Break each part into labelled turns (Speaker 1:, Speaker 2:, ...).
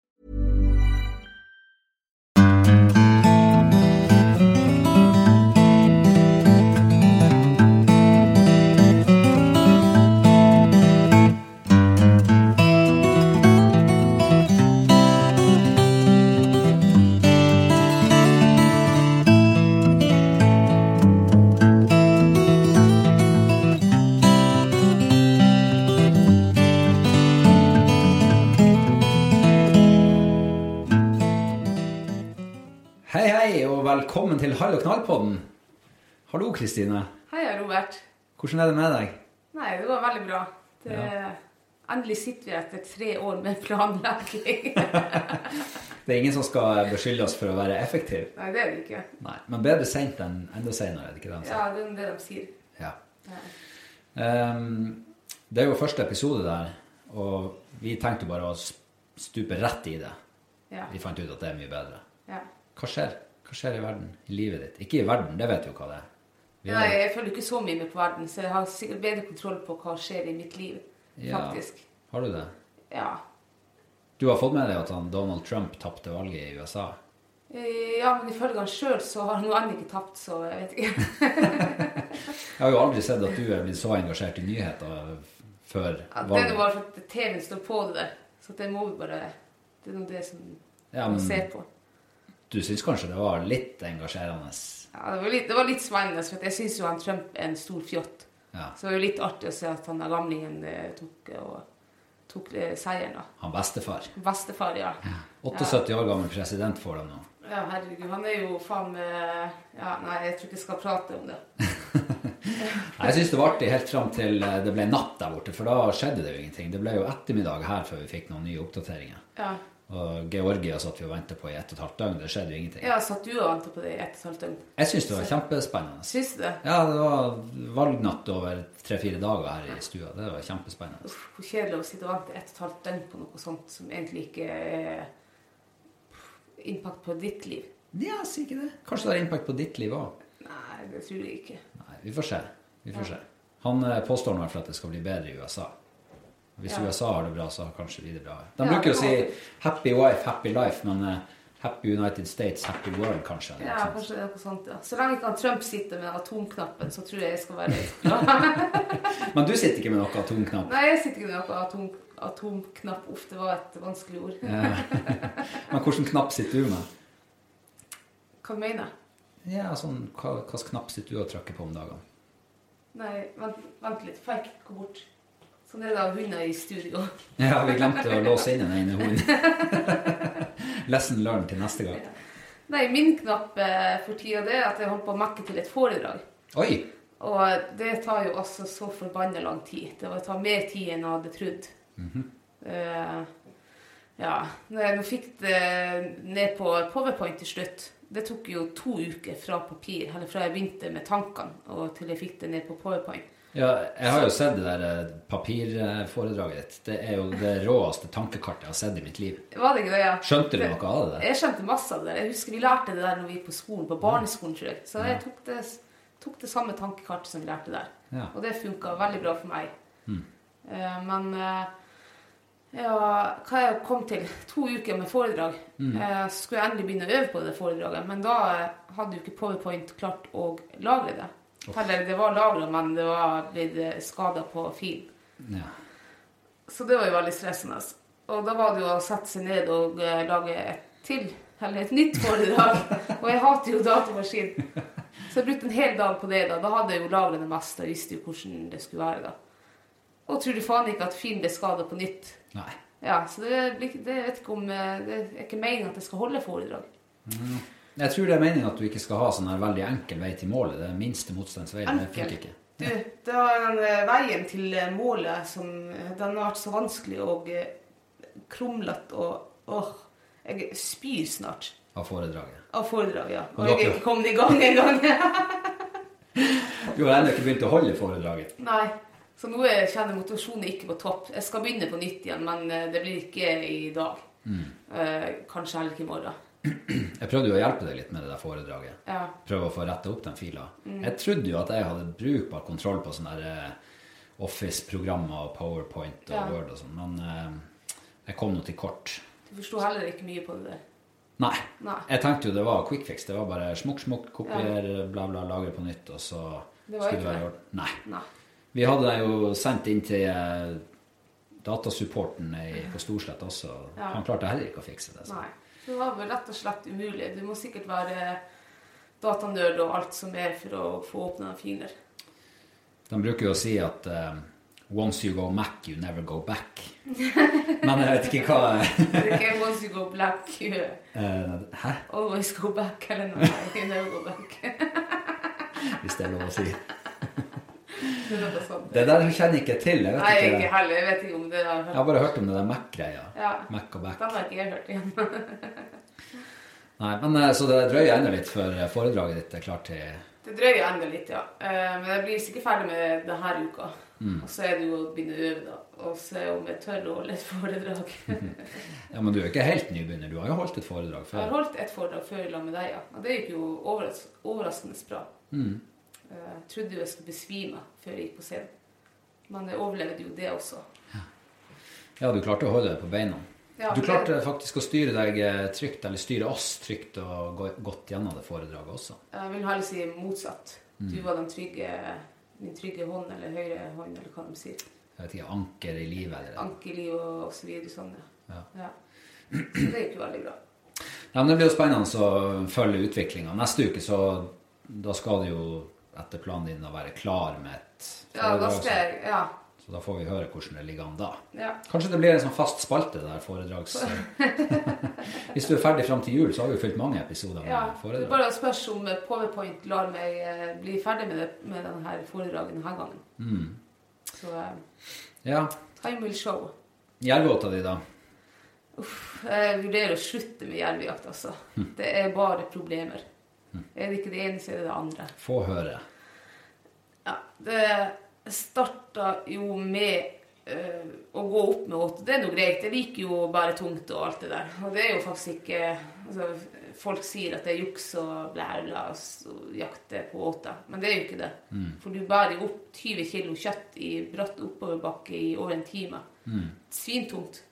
Speaker 1: Hei, hei, og velkommen til Hall og knall-podden. Hallo, Kristine.
Speaker 2: Hei, Robert.
Speaker 1: Hvordan er det med deg?
Speaker 2: Nei, det var veldig bra. Det, Endelig sitter vi etter tre år med planlegging.
Speaker 1: Det er ingen som skal beskylde oss for å være effektiv.
Speaker 2: Nei, det er det ikke.
Speaker 1: Nei, Men bedre sent enn enda senere, er det ikke det han
Speaker 2: Ja,
Speaker 1: sier?
Speaker 2: det er det de sier.
Speaker 1: Ja. Ehm, det er jo første episode der, og vi tenkte bare å s- stupe rett i det.
Speaker 2: Ja.
Speaker 1: Vi fant ut at det er mye bedre.
Speaker 2: ja.
Speaker 1: Hva skjer? Hva skjer i verden? I livet ditt? Ikke i verden, det vet jo hva det er. Vi
Speaker 2: Nei,
Speaker 1: er
Speaker 2: jeg følger ikke så mye med på verden, så jeg har sikkert bedre kontroll på hva skjer i mitt liv,
Speaker 1: Ja.
Speaker 2: faktisk.
Speaker 1: Har du det?
Speaker 2: Ja.
Speaker 1: Du har fått med deg at han Donald Trump tapte valget i USA?
Speaker 2: Eh, Ja, men ifølge han sjøl så har han jo ennå ikke tapt, så jeg vet ikke.
Speaker 1: Jeg har jo aldri sett at du er blitt så engasjert i nyheter før
Speaker 2: Ja, det er
Speaker 1: valget.
Speaker 2: jo bare for at TV-en står på det der, så det må vi bare Det er nå det som
Speaker 1: Ja,
Speaker 2: vi
Speaker 1: men-
Speaker 2: ser på.
Speaker 1: Du syns kanskje det var litt engasjerende?
Speaker 2: Ja, det var litt, det var litt spennende, for at jeg syns jo han Trump er en stor fjott.
Speaker 1: Ja.
Speaker 2: Så det var jo litt artig å se at han der gamlingen eh, tok, eh, og, tok eh, seieren, da.
Speaker 1: Han bestefar.
Speaker 2: Bestefar, ja.
Speaker 1: 78 år gammel president får de nå.
Speaker 2: Ja, herregud, han er jo faen meg Ja, nei, jeg tror ikke jeg skal prate om det.
Speaker 1: Nei, Jeg syns det var artig helt fram til eh, det ble natt der borte, for da skjedde det jo ingenting. Det ble jo ettermiddag her før vi fikk noen nye oppdateringer.
Speaker 2: Ja,
Speaker 1: Og Georgia satt vi og venta på i ett og et halvt døgn. Det skjedde jo ingenting.
Speaker 2: ja satt du og ventet på det i ett og et halvt døgn?
Speaker 1: Jeg syns det var kjempespennende.
Speaker 2: Syns du det?
Speaker 1: Ja, det var valgnatt over tre-fire dager her i stua. Det var kjempespennende.
Speaker 2: Uff, hvor kjedelig å sitte og vente ett og et halvt døgn på noe sånt som egentlig ikke er impact på ditt liv.
Speaker 1: Ja, si ikke det. Kanskje det har impact på ditt liv òg.
Speaker 2: Nei, det tror jeg ikke.
Speaker 1: Nei, vi får se. Vi får se. Han eh, påstår nå i hvert fall at det skal bli bedre i USA. Hvis
Speaker 2: Ja.
Speaker 1: USA har det bra, så har kanskje vi det bra. De
Speaker 2: Ja,
Speaker 1: bruker jo
Speaker 2: det
Speaker 1: å si
Speaker 2: håper
Speaker 1: 'happy wife, happy life', men eh, 'happy United States, happy world', kanskje. eller
Speaker 2: Ja,
Speaker 1: noe sånt.
Speaker 2: kanskje det er noe sånt, ja. Så lenge ikke han Trump sitter med atomknappen, så tror jeg jeg skal være
Speaker 1: Men du sitter ikke med noe atomknapp.
Speaker 2: Nei, jeg sitter ikke med noe atom, atomknapp. Uff, det var et vanskelig ord.
Speaker 1: Men hvilken knapp sitter du med?
Speaker 2: Hva mener jeg?
Speaker 1: Ja, sånn, hva Hvilken knapp sitter du og trykker på om dagene?
Speaker 2: Nei, vent, vent litt. Feik, gå bort. Sånn er det av hunder i studio.
Speaker 1: Ja, vi glemte å låse inn den ene hunden. Lesson learned til neste gang.
Speaker 2: Nei, min knapp eh, for tida det er at jeg holder på å mekke til et foredrag.
Speaker 1: Oi!
Speaker 2: Og det tar jo altså så forbanna lang tid. Det var- tar mer tid enn jeg hadde trodd. Eh, ja. Når jeg nå fikk det ned på Powerpoint til slutt Det tok jo to uker fra papir, eller fra jeg begynte med tankene og til jeg fikk det ned på Powerpoint.
Speaker 1: Ja, jeg har jo sett det der eh, papirforedraget ditt. Det er jo det råeste tankekartet jeg har sett i mitt liv.
Speaker 2: Var det greia?
Speaker 1: Skjønte du noe av det der?
Speaker 2: Jeg skjønte masse av det. der. Jeg husker Vi lærte det der når vi gikk på skolen, på barneskolen. Tror jeg. Så jeg tok det, tok det samme tankekartet som vi lærte der.
Speaker 1: Ja. Mm.
Speaker 2: Og det funka veldig bra for meg. Eh, men eh, ja, hva jeg kom til To uker med foredrag.
Speaker 1: Mm.
Speaker 2: Eh, så skulle jeg endelig begynne å øve på det foredraget, men da eh, hadde jo ikke Powerpoint klart å lagre det. Eller det var lagra, men det var blitt skada på filen.
Speaker 1: Ja.
Speaker 2: Så det var jo veldig stressende. altså. Og da var det jo å sette seg ned og eh, lage et til, eller et nytt foredrag. Og jeg hater jo datamaskin. Så jeg brukte en hel dag på det. Da Da hadde jeg jo lagret det meste og visste jo hvordan det skulle være. da. Og tror du faen ikke at film ble skada på nytt.
Speaker 1: Nei.
Speaker 2: Ja, Så det, blir ikke- det vet ikke om eh, Det er ikke meningen at jeg skal holde foredrag.
Speaker 1: Jeg tror det er meningen at du ikke skal ha sånn her veldig enkel vei til målet. Det er minste motstands vei. Det funker ikke.
Speaker 2: Du, det var den eh, veien til eh, målet som eh, Den har vært så vanskelig og eh, krumlete og Åh, jeg spyr snart.
Speaker 1: Av foredraget.
Speaker 2: Av foredrag, ja.
Speaker 1: Og
Speaker 2: Og jeg
Speaker 1: dere?
Speaker 2: er ikke kommet i gang engang.
Speaker 1: Du har ennå ikke begynt å holde foredraget.
Speaker 2: Nei. Så nå er- kjenner jeg motivasjonen ikke på topp. Jeg skal begynne på nytt igjen, men eh, det blir ikke i dag.
Speaker 1: Mm.
Speaker 2: Eh, kanskje heller ikke i morgen.
Speaker 1: Jeg prøvde jo å hjelpe deg litt med det der foredraget.
Speaker 2: Ja.
Speaker 1: Prøve å få retta opp den fila. Jeg trodde jo at jeg hadde brukbar kontroll på sånne der, eh, Office-programmer og PowerPoint og
Speaker 2: Ja.
Speaker 1: Word og sånn, men eh, jeg kom nå til kort.
Speaker 2: Du forsto heller ikke mye på det der.
Speaker 1: Nei.
Speaker 2: Nei.
Speaker 1: Jeg tenkte jo det var quick fix. Det var bare smukk, smukk, kopier, bla, bla, lagre på nytt, og så
Speaker 2: Det var ikke
Speaker 1: skulle det være i
Speaker 2: det.
Speaker 1: orden. Nei.
Speaker 2: Nei.
Speaker 1: Vi hadde den jo sendt inn til eh, datasupporten i, på Storslett også.
Speaker 2: Ja.
Speaker 1: Han klarte heller ikke å fikse det. Så.
Speaker 2: Nei. Det var vel rett og slett umulig. Du må sikkert være datanerd og alt som er for å få åpna filer.
Speaker 1: De bruker jo å si at eh, once you go Mac, you never go back. Men jeg vet ikke hva
Speaker 2: Det er ikke once you go black, you
Speaker 1: eh, Hæ?
Speaker 2: always go back, eller noe. You never go back.
Speaker 1: Hvis det er lov å si.
Speaker 2: Det er noe sånt.
Speaker 1: Det der kjenner jeg ikke til. Jeg vet
Speaker 2: Nei,
Speaker 1: ikke.
Speaker 2: ikke heller. Jeg vet ikke om det
Speaker 1: Jeg har bare hørt om det der Mac-greia.
Speaker 2: Ja.
Speaker 1: Mac og back.
Speaker 2: Den har ikke jeg hørt igjen.
Speaker 1: Nei, men eh, Så det drøyer ennå litt før eh, foredraget ditt er klart til
Speaker 2: Det drøyer enda litt, ja. Eh, Men jeg blir sikkert ferdig med det her uka. Og så er det jo å begynne å øve, da. Og se om jeg tør å holde et foredrag.
Speaker 1: Ja, Men du er jo ikke helt nybegynner. Du har jo holdt et foredrag
Speaker 2: Jeg har
Speaker 1: før.
Speaker 2: holdt et foredrag før i lag med deg, ja. Og det gikk jo overras overraskende bra. Eh, Jeg trodde jo jeg skulle besvime før jeg gikk på scenen. Men jeg overlevde jo det også.
Speaker 1: Ja, du klarte å holde deg på beina.
Speaker 2: Ja,
Speaker 1: Du
Speaker 2: det-
Speaker 1: klarte faktisk å styre deg eh, trygt, eller styre oss trygt og gå godt gjennom det foredraget også.
Speaker 2: Jeg vil heller si motsatt. Du var den trygge, min trygge hånd, eller høyre hånd, eller hva de sier.
Speaker 1: Jeg vet ikke, anker i livet eller
Speaker 2: Ankeliv og og så videre. Sånn, ja.
Speaker 1: Ja.
Speaker 2: ja. Så det gikk jo veldig bra.
Speaker 1: Nei, men Det blir jo spennende å følge utviklinga. Neste uke så da skal du jo etter planen din å være klar med et
Speaker 2: Ja, da
Speaker 1: foredrag.
Speaker 2: skal jeg Ja.
Speaker 1: så- Så da får vi høre hvordan det ligger an da.
Speaker 2: ja.
Speaker 1: Kanskje det blir en sånn fast spalte, det der foredrags... Hvis du er ferdig fram til jul, så har vi jo fylt mange episoder med
Speaker 2: ja. Det
Speaker 1: foredrag.
Speaker 2: er bare å spørs om eh, Powerpoint lar meg eh, bli ferdig med, det, med denne foredraget denne gangen. Så eh,
Speaker 1: Ja.
Speaker 2: time will show.
Speaker 1: Jervåta di, da?
Speaker 2: Jeg Eh, vurderer å slutte med jervejakt, altså. Det er bare problemer. Er det ikke det ene, så er det det andre.
Speaker 1: Få høre.
Speaker 2: Ja, det starta jo med eh, å gå opp med åtte. Det er noe greit. Jeg liker jo bare tungt og alt det der. Og det er jo faktisk ikke altså, Folk sier at det er juks og blæ, blæ, og s- og jakte på åte. Men det er jo ikke det. For du bærer jo opp 20 kilo kjøtt i bratt oppoverbakke i over en time. Svintungt.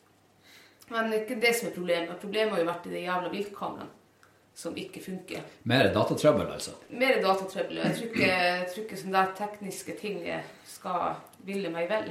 Speaker 2: Men det er ikke det som er problemet. Problemet har jo vært i de jævla viltkameraene som ikke funker
Speaker 1: Mer datatrøbbel, altså.
Speaker 2: mer datatrøbbel. og Jeg tror ikke, jeg tror ikke sånne der tekniske ting skal ville meg vel.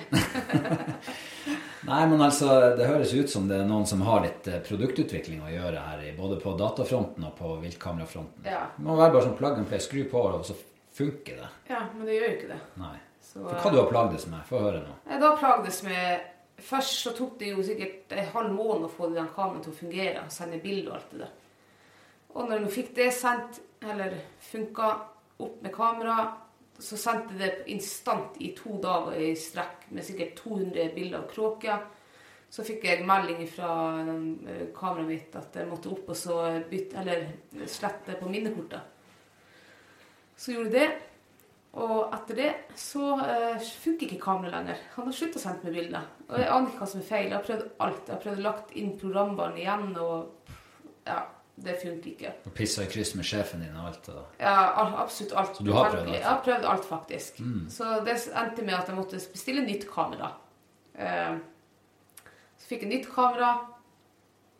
Speaker 1: Nei, men altså, Det høres ut som det er noen som har litt eh, produktutvikling å gjøre her, i- både på datafronten og på viltkamerafronten.
Speaker 2: Ja.
Speaker 1: Det må være bare sånn plug and play. Skru på, og så funker det.
Speaker 2: Ja, men det gjør jo ikke det.
Speaker 1: Nei.
Speaker 2: Så,
Speaker 1: For hva du har plagdes med? Få høre nå.
Speaker 2: Nei, Da plagdes med Først så tok det jo sikkert en halv måned å få den kameraet til å fungere. og Sende bilder og alt det der. Og når vi fikk det sendt, eller funka, opp med kamera, så sendte det instant i to dager i strekk med sikkert 200 bilder av kråker. Så fikk jeg melding fra eh, kameraet mitt at jeg måtte opp og så bytte, eller slette på minnekortet. Så gjorde jeg det. Og etter det så eh, funker ikke kameraet lenger. Han har sluttet å sende meg bilder. Og jeg aner ikke hva som er feil. Jeg har prøvd alt. Jeg har prøvd å lagt inn programvaren igjen, og ja, det funker ikke.
Speaker 1: Og pissa i kryss med sjefen din og alt. Og...
Speaker 2: Ja, al- absolutt alt.
Speaker 1: Så du har prøvd alt? Mm.
Speaker 2: Jeg har prøvd alt, faktisk. Så det endte med at jeg måtte bestille nytt kamera. Eh, Så fikk jeg nytt kamera,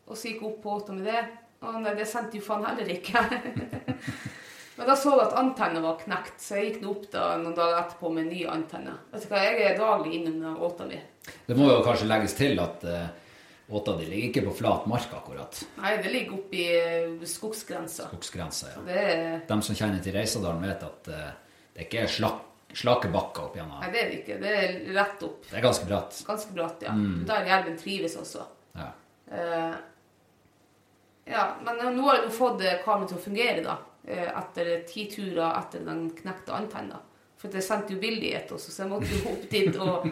Speaker 2: og så gikk jeg opp på åtta med det. Og nei, det sendte jo faen heller ikke. Men da så jeg at antenna var knekt, så jeg gikk nå opp da noen dager etterpå med en ny antenne. Vet du hva, jeg er daglig innom den åta mi.
Speaker 1: Det må jo kanskje legges til at eh, åta di ligger ikke på flat mark, akkurat.
Speaker 2: Nei, det ligger oppe i eh, skogsgrensa.
Speaker 1: Skogsgrensa, ja.
Speaker 2: Det er
Speaker 1: De som kjenner til Reisadalen, vet at eh, det ikke er slak, slake bakker opp gjennom.
Speaker 2: Nei, det er det ikke. Det er rett opp.
Speaker 1: Det er ganske bratt.
Speaker 2: Ganske bratt, ja.
Speaker 1: Mm.
Speaker 2: Der jerven trives også.
Speaker 1: Ja.
Speaker 2: Eh, ja, men nå har jeg jo fått eh, kameraet til å fungere, da. eh, Etter ti turer etter den knekte antenna. For jeg sendte jo bilde i et også, så jeg måtte jo opp dit og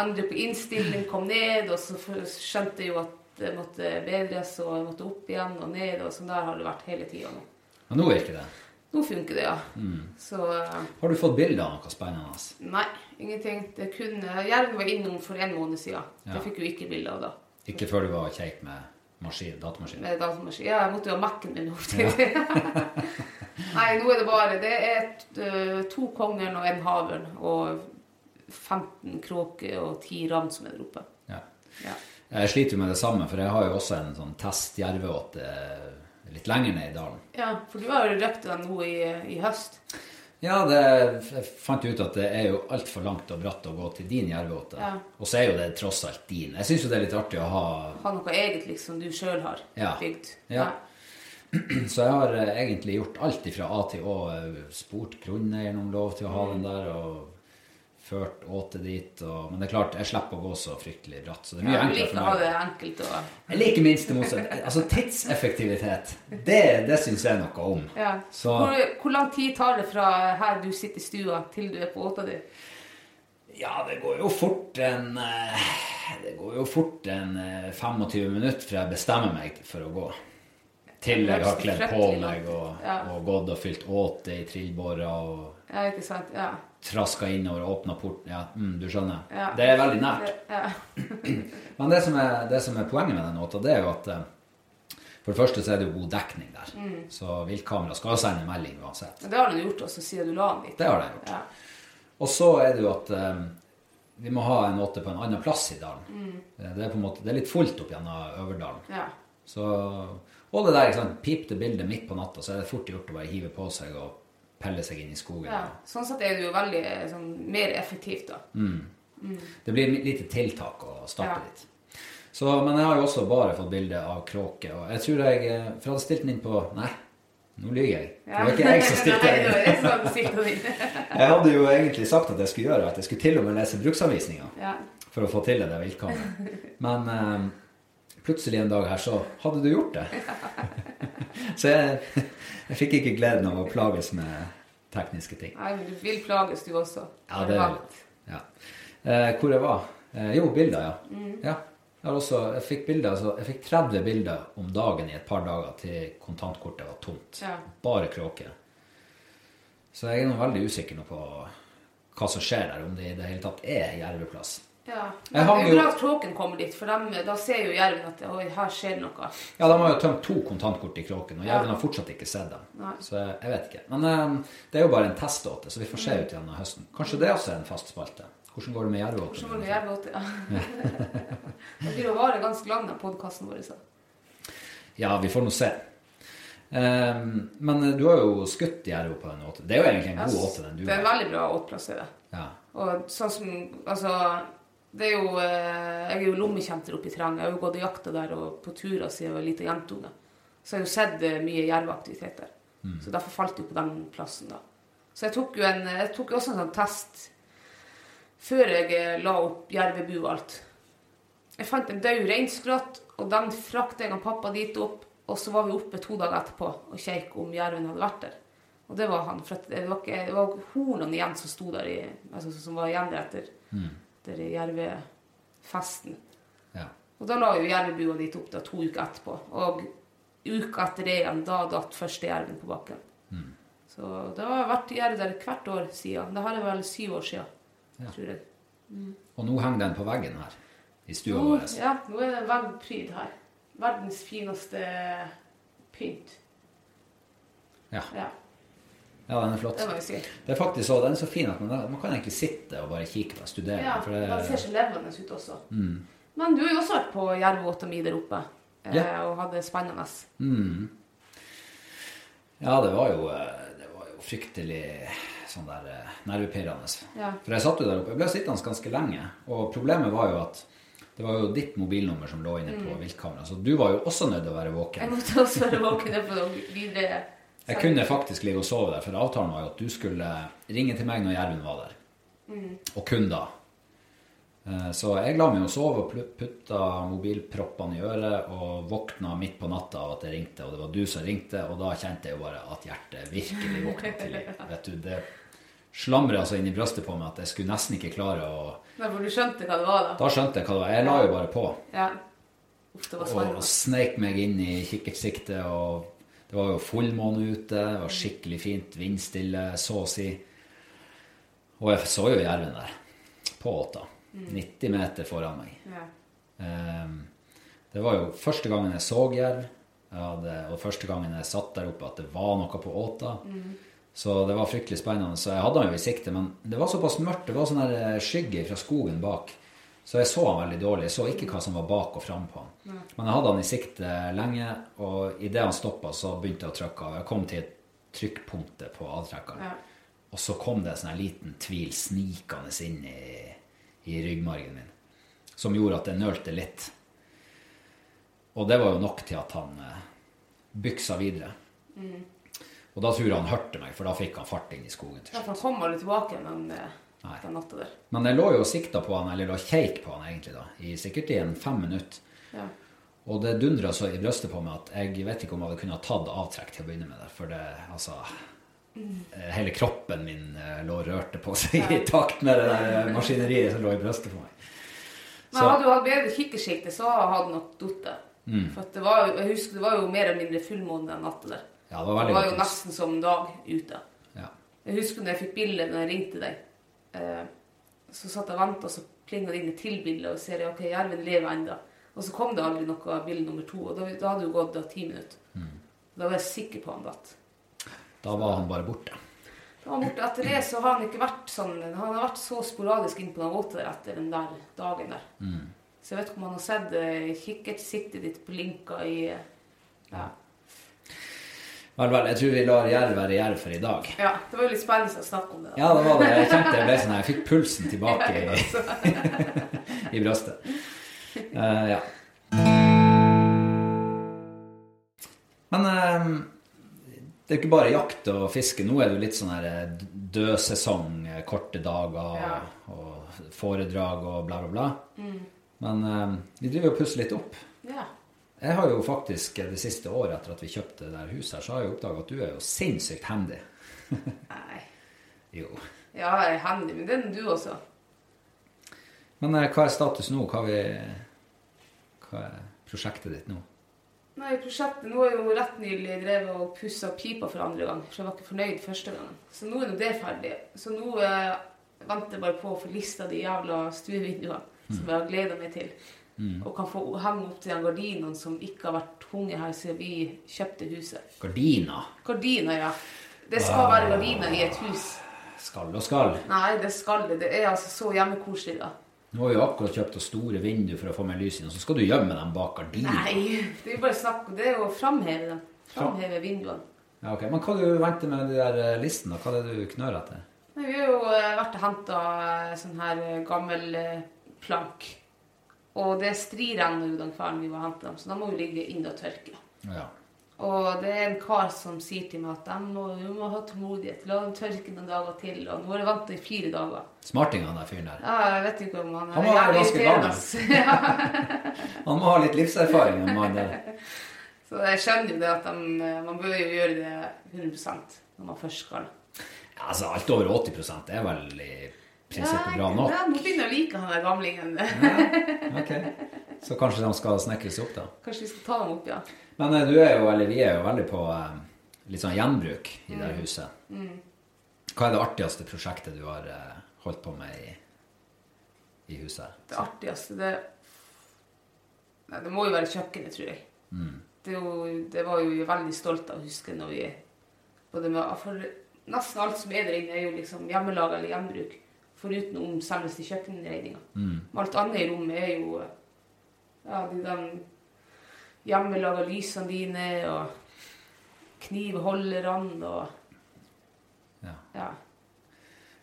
Speaker 2: endre på innstilling, kom ned, og så f- skjønte jeg jo at det måtte bedres, og jeg måtte opp igjen og ned, og sånn der har det vært hele tida nå.
Speaker 1: Men nå virker det.
Speaker 2: Nå funker det, ja. Så eh,
Speaker 1: Har du fått bilder av noe spennende?
Speaker 2: nei, ingenting. Det kunne Jerven var innom for en måned siden.
Speaker 1: Ja.
Speaker 2: Det fikk jo ikke bilder av da.
Speaker 1: Ikke før du var og kjekk med maskin, datamaskin.
Speaker 2: med datamaskin. Ja, jeg måtte jo ha Mac-en min opp til det. Nei, nå er det bare Det er t- øh, to kongen og en havørn og 15 kråker og 10 ravn som er der oppe.
Speaker 1: Ja.
Speaker 2: Ja.
Speaker 1: Jeg sliter jo med det samme, for jeg har jo også en sånn testjerveåt eh, litt lenger ned i dalen.
Speaker 2: ja, for du har jo røkt den nå i, i høst.
Speaker 1: Ja, det, jeg fant ut at det er jo altfor langt og bratt å gå til din jerveåte.
Speaker 2: Ja.
Speaker 1: Og så er jo det tross alt din. Jeg syns jo det er litt artig å ha
Speaker 2: Ha noe eget liksom du sjøl har
Speaker 1: Ja.
Speaker 2: bygd.
Speaker 1: Ja. Så jeg har eh, egentlig gjort alt ifra A til Å. eh, Spurt grunneieren om lov til å
Speaker 2: Mm.
Speaker 1: ha den der, og ført åte dit. Og, men det er klart, jeg slipper å gå så fryktelig bratt, så det er mye
Speaker 2: Ja, Du
Speaker 1: enklere
Speaker 2: liker å
Speaker 1: for
Speaker 2: ha
Speaker 1: meg.
Speaker 2: det enkelt og
Speaker 1: Jeg liker minste motsetning. Altså tidseffektivitet, det, det syns jeg noe om.
Speaker 2: ja.
Speaker 1: Så
Speaker 2: hvor, hvor lang tid tar det fra her du sitter i stua, til du er på åta di?
Speaker 1: Ja, det går jo fort en eh, Det går jo fort en eh, 25 minutter fra jeg bestemmer meg for å gå. Til jeg har kledd på meg og,
Speaker 2: liksom. Ja.
Speaker 1: og gått og fylt åte i trillbåra og
Speaker 2: Ja, ikke sant? Ja.
Speaker 1: traska innover og åpna porten. Ja, mm, du skjønner.
Speaker 2: Ja.
Speaker 1: Det er veldig nært.
Speaker 2: ja.
Speaker 1: Men det som er, det som er poenget med den åta, det er jo at eh, for det første så er det jo god dekning der.
Speaker 2: Mm.
Speaker 1: Så viltkamera skal sende melding uansett.
Speaker 2: Men Det har du gjort også siden du la den dit.
Speaker 1: Det har de gjort.
Speaker 2: Ja.
Speaker 1: Og så er det jo at eh, vi må ha en åte på en annen plass i dalen.
Speaker 2: Mm.
Speaker 1: Eh, Det er på en måte, det er litt fullt opp gjennom Øverdalen.
Speaker 2: Ja.
Speaker 1: Så, og det der ikke sant, pipte bildet midt på natta, så er det fort gjort å bare hive på seg og pelle seg inn i skogen.
Speaker 2: ja. Sånn sett er det jo veldig eh, sånn, mer effektivt, da.
Speaker 1: Mm. Det blir lite tiltak å starte
Speaker 2: Ja.
Speaker 1: litt. Så, men jeg har jo også bare fått bilde av kråke. Og jeg tror jeg eh, For jeg hadde stilt den inn på Nei, nå lyver jeg. Det var ikke jeg som stilte
Speaker 2: Nei, det
Speaker 1: den
Speaker 2: var
Speaker 1: inn.
Speaker 2: jeg som hadde stilt den inn.
Speaker 1: Jeg hadde jo egentlig sagt at jeg skulle gjøre at jeg skulle til og med lese bruksanvisninga.
Speaker 2: ja.
Speaker 1: for å få til det der viltkameraet. Men eh, plutselig en dag her så hadde du gjort det. så jeg, jeg fikk ikke gleden av å plages med tekniske ting.
Speaker 2: Nei, men du vil plages, du også.
Speaker 1: Ja, det er litt. Ja. Eh, hvor jeg var? Eh, jo, bilder, ja. ja. Jeg, har også, jeg, fikk bilder, altså, jeg fikk 30 bilder om dagen i et par dager til kontantkortet var tomt.
Speaker 2: Ja.
Speaker 1: Bare kråker. Så jeg er nå veldig usikker nå på hva som skjer der, om det i det hele tatt er jerveplass.
Speaker 2: Ja.
Speaker 1: Jeg
Speaker 2: Men
Speaker 1: har
Speaker 2: det er
Speaker 1: jo-
Speaker 2: jo bra at kråken kommer dit, for dem, da ser jo jerven at oi, her skjer det noe.
Speaker 1: Ja, de har jo tømt to kontantkort i kråken, og jerven
Speaker 2: Ja.
Speaker 1: har fortsatt ikke sett dem.
Speaker 2: Nei.
Speaker 1: Så jeg jeg vet ikke. Men eh, det er jo bare en teståte, så vi får
Speaker 2: Mm.
Speaker 1: se ut igjen av høsten. Kanskje det også er en fast spalte. Hvordan går det med
Speaker 2: Så må
Speaker 1: jervåten?
Speaker 2: du jerve åt det. Ja. det blir å vare ganske lang, den podkasten vår. Så.
Speaker 1: Ja, vi får nå se. Ehm, men eh, du har jo skutt jerv på den åten. Det er jo egentlig en god åte, den du
Speaker 2: det er en
Speaker 1: har.
Speaker 2: veldig bra åtplass. er det.
Speaker 1: Ja.
Speaker 2: Og sånn som Altså, det er jo eh, Jeg er jo lommekjenter oppe i terrenget. Jeg har jo gått og jakta der og på turer siden jeg var lita jentunge. Så jeg har jo sett eh, mye jerveaktivitet der. Så derfor falt jeg jo på den plassen, da. Så jeg tok jo en, jeg tok jo også en sånn test før jeg eh, la opp jervebu og alt. Jeg fant en død reinskratt, og den frakta jeg og pappa dit opp. Og så var vi oppe to dager etterpå og kjekk om jerven hadde vært der. Og det var han, for at det var, ikke, det var hornene igjen som sto der, i, altså, som var igjen der etter, etter jervefesten.
Speaker 1: ja.
Speaker 2: Og da la jo jervebua dit opp da, to uker etterpå. Og uka etter det igjen, da datt første jerven på bakken. Så da har jeg vært gjør det der hvert år siden. Det har jeg vel syv år siden,
Speaker 1: Ja.
Speaker 2: tror jeg.
Speaker 1: Og nå henger den på veggen her i stua
Speaker 2: Nå,
Speaker 1: vår.
Speaker 2: ja, nå er det en veldig pryd her. Verdens fineste pynt.
Speaker 1: Ja.
Speaker 2: Ja,
Speaker 1: ja, den er flott.
Speaker 2: det må vi si.
Speaker 1: Det er faktisk så, den er så fin at man, man kan egentlig sitte og bare kikke på den, studere
Speaker 2: Ja,
Speaker 1: den. For
Speaker 2: den ser
Speaker 1: det, Mm.
Speaker 2: så levende ut også. Men du har jo også vært på Jervåta mi der oppe eh,
Speaker 1: Ja.
Speaker 2: og hadde det spennende.
Speaker 1: ja, det var jo eh, Det var jo fryktelig sånn der eh, nervepirrende.
Speaker 2: Ja.
Speaker 1: For jeg satt jo der oppe. Jeg ble sittende ganske lenge. Og problemet var jo at det var jo ditt mobilnummer som lå inne på viltkameraet, så du var jo også nødt til å være
Speaker 2: Mm. Jeg
Speaker 1: våken.
Speaker 2: måtte også være våken opp og videre.
Speaker 1: Mm. Jeg kunne faktisk ligge og sove der, for avtalen var jo at du skulle ringe til meg når Gjermund var der. Og kun da. Eh, Så jeg la meg jo sove og plu- putta mobilproppene i øret og våkna midt på natta av at det ringte, og det var du som ringte, og da kjente jeg jo bare at hjertet virkelig våkna til liv. Vet du, det slamra altså inn i brystet på meg at jeg skulle nesten ikke klare å
Speaker 2: Nei, for du skjønte hva det var da.
Speaker 1: Da skjønte jeg hva det var. Jeg la jo bare på
Speaker 2: Ja. Uff, det var
Speaker 1: og
Speaker 2: spennende.
Speaker 1: sneik meg inn i kikkertsiktet. og Det var jo fullmåne ute, det var skikkelig fint, vindstille, så å si. Og jeg så jo jerven der, på åta. 90 meter foran meg.
Speaker 2: Ja.
Speaker 1: Ehm, Det var jo første gangen jeg så jerv, jeg hadde- og første gangen jeg satt der oppe at det var noe på åta. Så det var fryktelig spennende. Så jeg hadde han jo i sikte, men det var såpass mørkt, det var sånn der skygge fra skogen bak. Så jeg så han veldig dårlig. Jeg så ikke hva som var bak og fram på han. Men jeg hadde han i sikte lenge, og idet han stoppa, så begynte jeg å trykke av. Jeg kom til trykkpunktet på avtrekkeren.
Speaker 2: Ja.
Speaker 1: Og så kom det en sånn her liten tvil snikende inn i, i ryggmargen min som gjorde at jeg nølte litt. Og det var jo nok til at han eh, byksa videre. Og da tror jeg han hørte meg, for da fikk han fart inn i skogen. til
Speaker 2: Ja,
Speaker 1: slutt.
Speaker 2: for han kom aldri tilbake den, eh,
Speaker 1: Nei.
Speaker 2: den natta der.
Speaker 1: Men jeg lå jo og sikta på han, eller lå og keik på han egentlig, da, i sikkert i en fem minutter.
Speaker 2: Ja.
Speaker 1: Og det dundra så i brystet på meg at jeg vet ikke om jeg hadde kunnet tatt avtrekk til å begynne med. Der, for det, altså
Speaker 2: Mm.
Speaker 1: eh, Hele kroppen min eh, lå og rørte på seg i takt med det der eh, maskineriet som lå i brystet på meg.
Speaker 2: Men
Speaker 1: Så-
Speaker 2: hadde du hatt bedre kikkersikte, så hadde nok datt det.
Speaker 1: Mm.
Speaker 2: For at det var, jo- jeg husker det var jo mer eller mindre fullmåne den natta der.
Speaker 1: Ja, det var
Speaker 2: Det
Speaker 1: veldig
Speaker 2: var jo
Speaker 1: godt. tips.
Speaker 2: nesten som dag ute.
Speaker 1: Ja.
Speaker 2: Jeg husker når jeg fikk bildet når jeg ringte deg. Eh, så satt jeg og venta, og så plinga det inn et til bilde, og ser jeg, ok, jerven lever ennå. Og så kom det aldri noe bilde nummer to, og da, da hadde det jo gått da, ti minutter.
Speaker 1: Mm.
Speaker 2: Da var jeg sikker på han datt.
Speaker 1: Da var han bare borte.
Speaker 2: Da han borte etter det, så har han ikke vært sånn Han har vært så sporadisk inn på den åta der etter den der dagen der. Så jeg vet ikke om han har sett eh, kikkertsiktet ditt blinka i eh, ja.
Speaker 1: Vel, vel, jeg tror vi lar jerv være jerv for i dag.
Speaker 2: ja. Det var jo litt spennende å snakke om det. da.
Speaker 1: Ja, det var det. Jeg kjente jeg ble sånn her. Jeg fikk pulsen tilbake i, i brystet. Eh, ja. Men eh, det er jo ikke bare jakt og fiske. Nå er det jo litt sånn her eh, død sesong, eh, korte dager
Speaker 2: Ja. Mm.
Speaker 1: og foredrag og bla, bla, bla. Men eh, vi driver og pusser litt opp.
Speaker 2: Ja.
Speaker 1: Jeg har jo faktisk eh, det siste året etter at vi kjøpte det der huset, her, så har jeg jo oppdaga at du er jo sinnssykt handy.
Speaker 2: Nei.
Speaker 1: Jo.
Speaker 2: Ja, jeg er handy, men det er du også.
Speaker 1: Men eh, hva er status nå? Hva, vi, hva er prosjektet ditt nå?
Speaker 2: Nei, prosjektet nå er jo rett nylig drevet og pussa pipa for andre gang, for jeg var ikke fornøyd første gangen. Så nå er nå det ferdig. Så nå eh, venter jeg bare på å få lista de jævla stuevinduene som jeg har gleda meg til. Og kan få henge opp til de gardinene som ikke har vært tunge her siden vi kjøpte huset.
Speaker 1: Gardina.
Speaker 2: Gardiner, ja. Det skal være gardiner i et hus.
Speaker 1: Skal og skal.
Speaker 2: Nei, det skal det. Det er altså så hjemmekoselig, da.
Speaker 1: Nå har vi jo akkurat kjøpt oss store vinduer for å få mer lys inn, og så skal du gjemme dem bak gardina.
Speaker 2: Nei, det er jo bare snakk om det. er jo å framheve dem. Framheve vinduene.
Speaker 1: Ja, ok. Men hva du venter med de der eh, listene? Hva er det du knør etter?
Speaker 2: Nei, Vi har jo eh, vært og henta sånn her eh, gammel eh, plank. Og det striregner jo den kvelden vi var og henta dem, så da må vi ligge inne og tørke.
Speaker 1: Ja.
Speaker 2: Og det er en kar som sier til meg at de må, du må ha tålmodighet. La dem tørke noen dager til. Og nå er det vant til fire dager.
Speaker 1: Smartinga, den der fyren der.
Speaker 2: Ja, jeg vet ikke om han
Speaker 1: Han var
Speaker 2: jævlig
Speaker 1: ganske
Speaker 2: irriterende, altså. ass.
Speaker 1: Han må ha litt livserfaring, eh, den mannen der.
Speaker 2: Ja. Så jeg skjønner jo det at de, eh, man bør jo gjøre det 100 når man først skal.
Speaker 1: Altså, alt over 80 er vel i prinsippet bra
Speaker 2: Ja,
Speaker 1: nok.
Speaker 2: nå begynner jeg å like han der gamlingen.
Speaker 1: Ok. Så kanskje de skal snekres opp, da.
Speaker 2: Kanskje vi skal ta dem opp, ja.
Speaker 1: Men eh, du er jo, eller vi er jo veldig på eh, litt sånn gjenbruk i det her huset. Hva er det artigste prosjektet du har eh, holdt på med i, i huset?
Speaker 2: Det artigste det Nei, det må jo være kjøkkenet, tror jeg. Det, er jo, det var jo vi veldig stolt av, husker jeg, når vi både med, For nesten alt som er der inne, er jo liksom hjemmelag eller gjenbruk. Foruten om selveste kjøkkeninnredninga. Men Alt annet i rommet er jo ja, de der hjemmelaga lysene dine, og knivholderne og
Speaker 1: Ja.
Speaker 2: ja,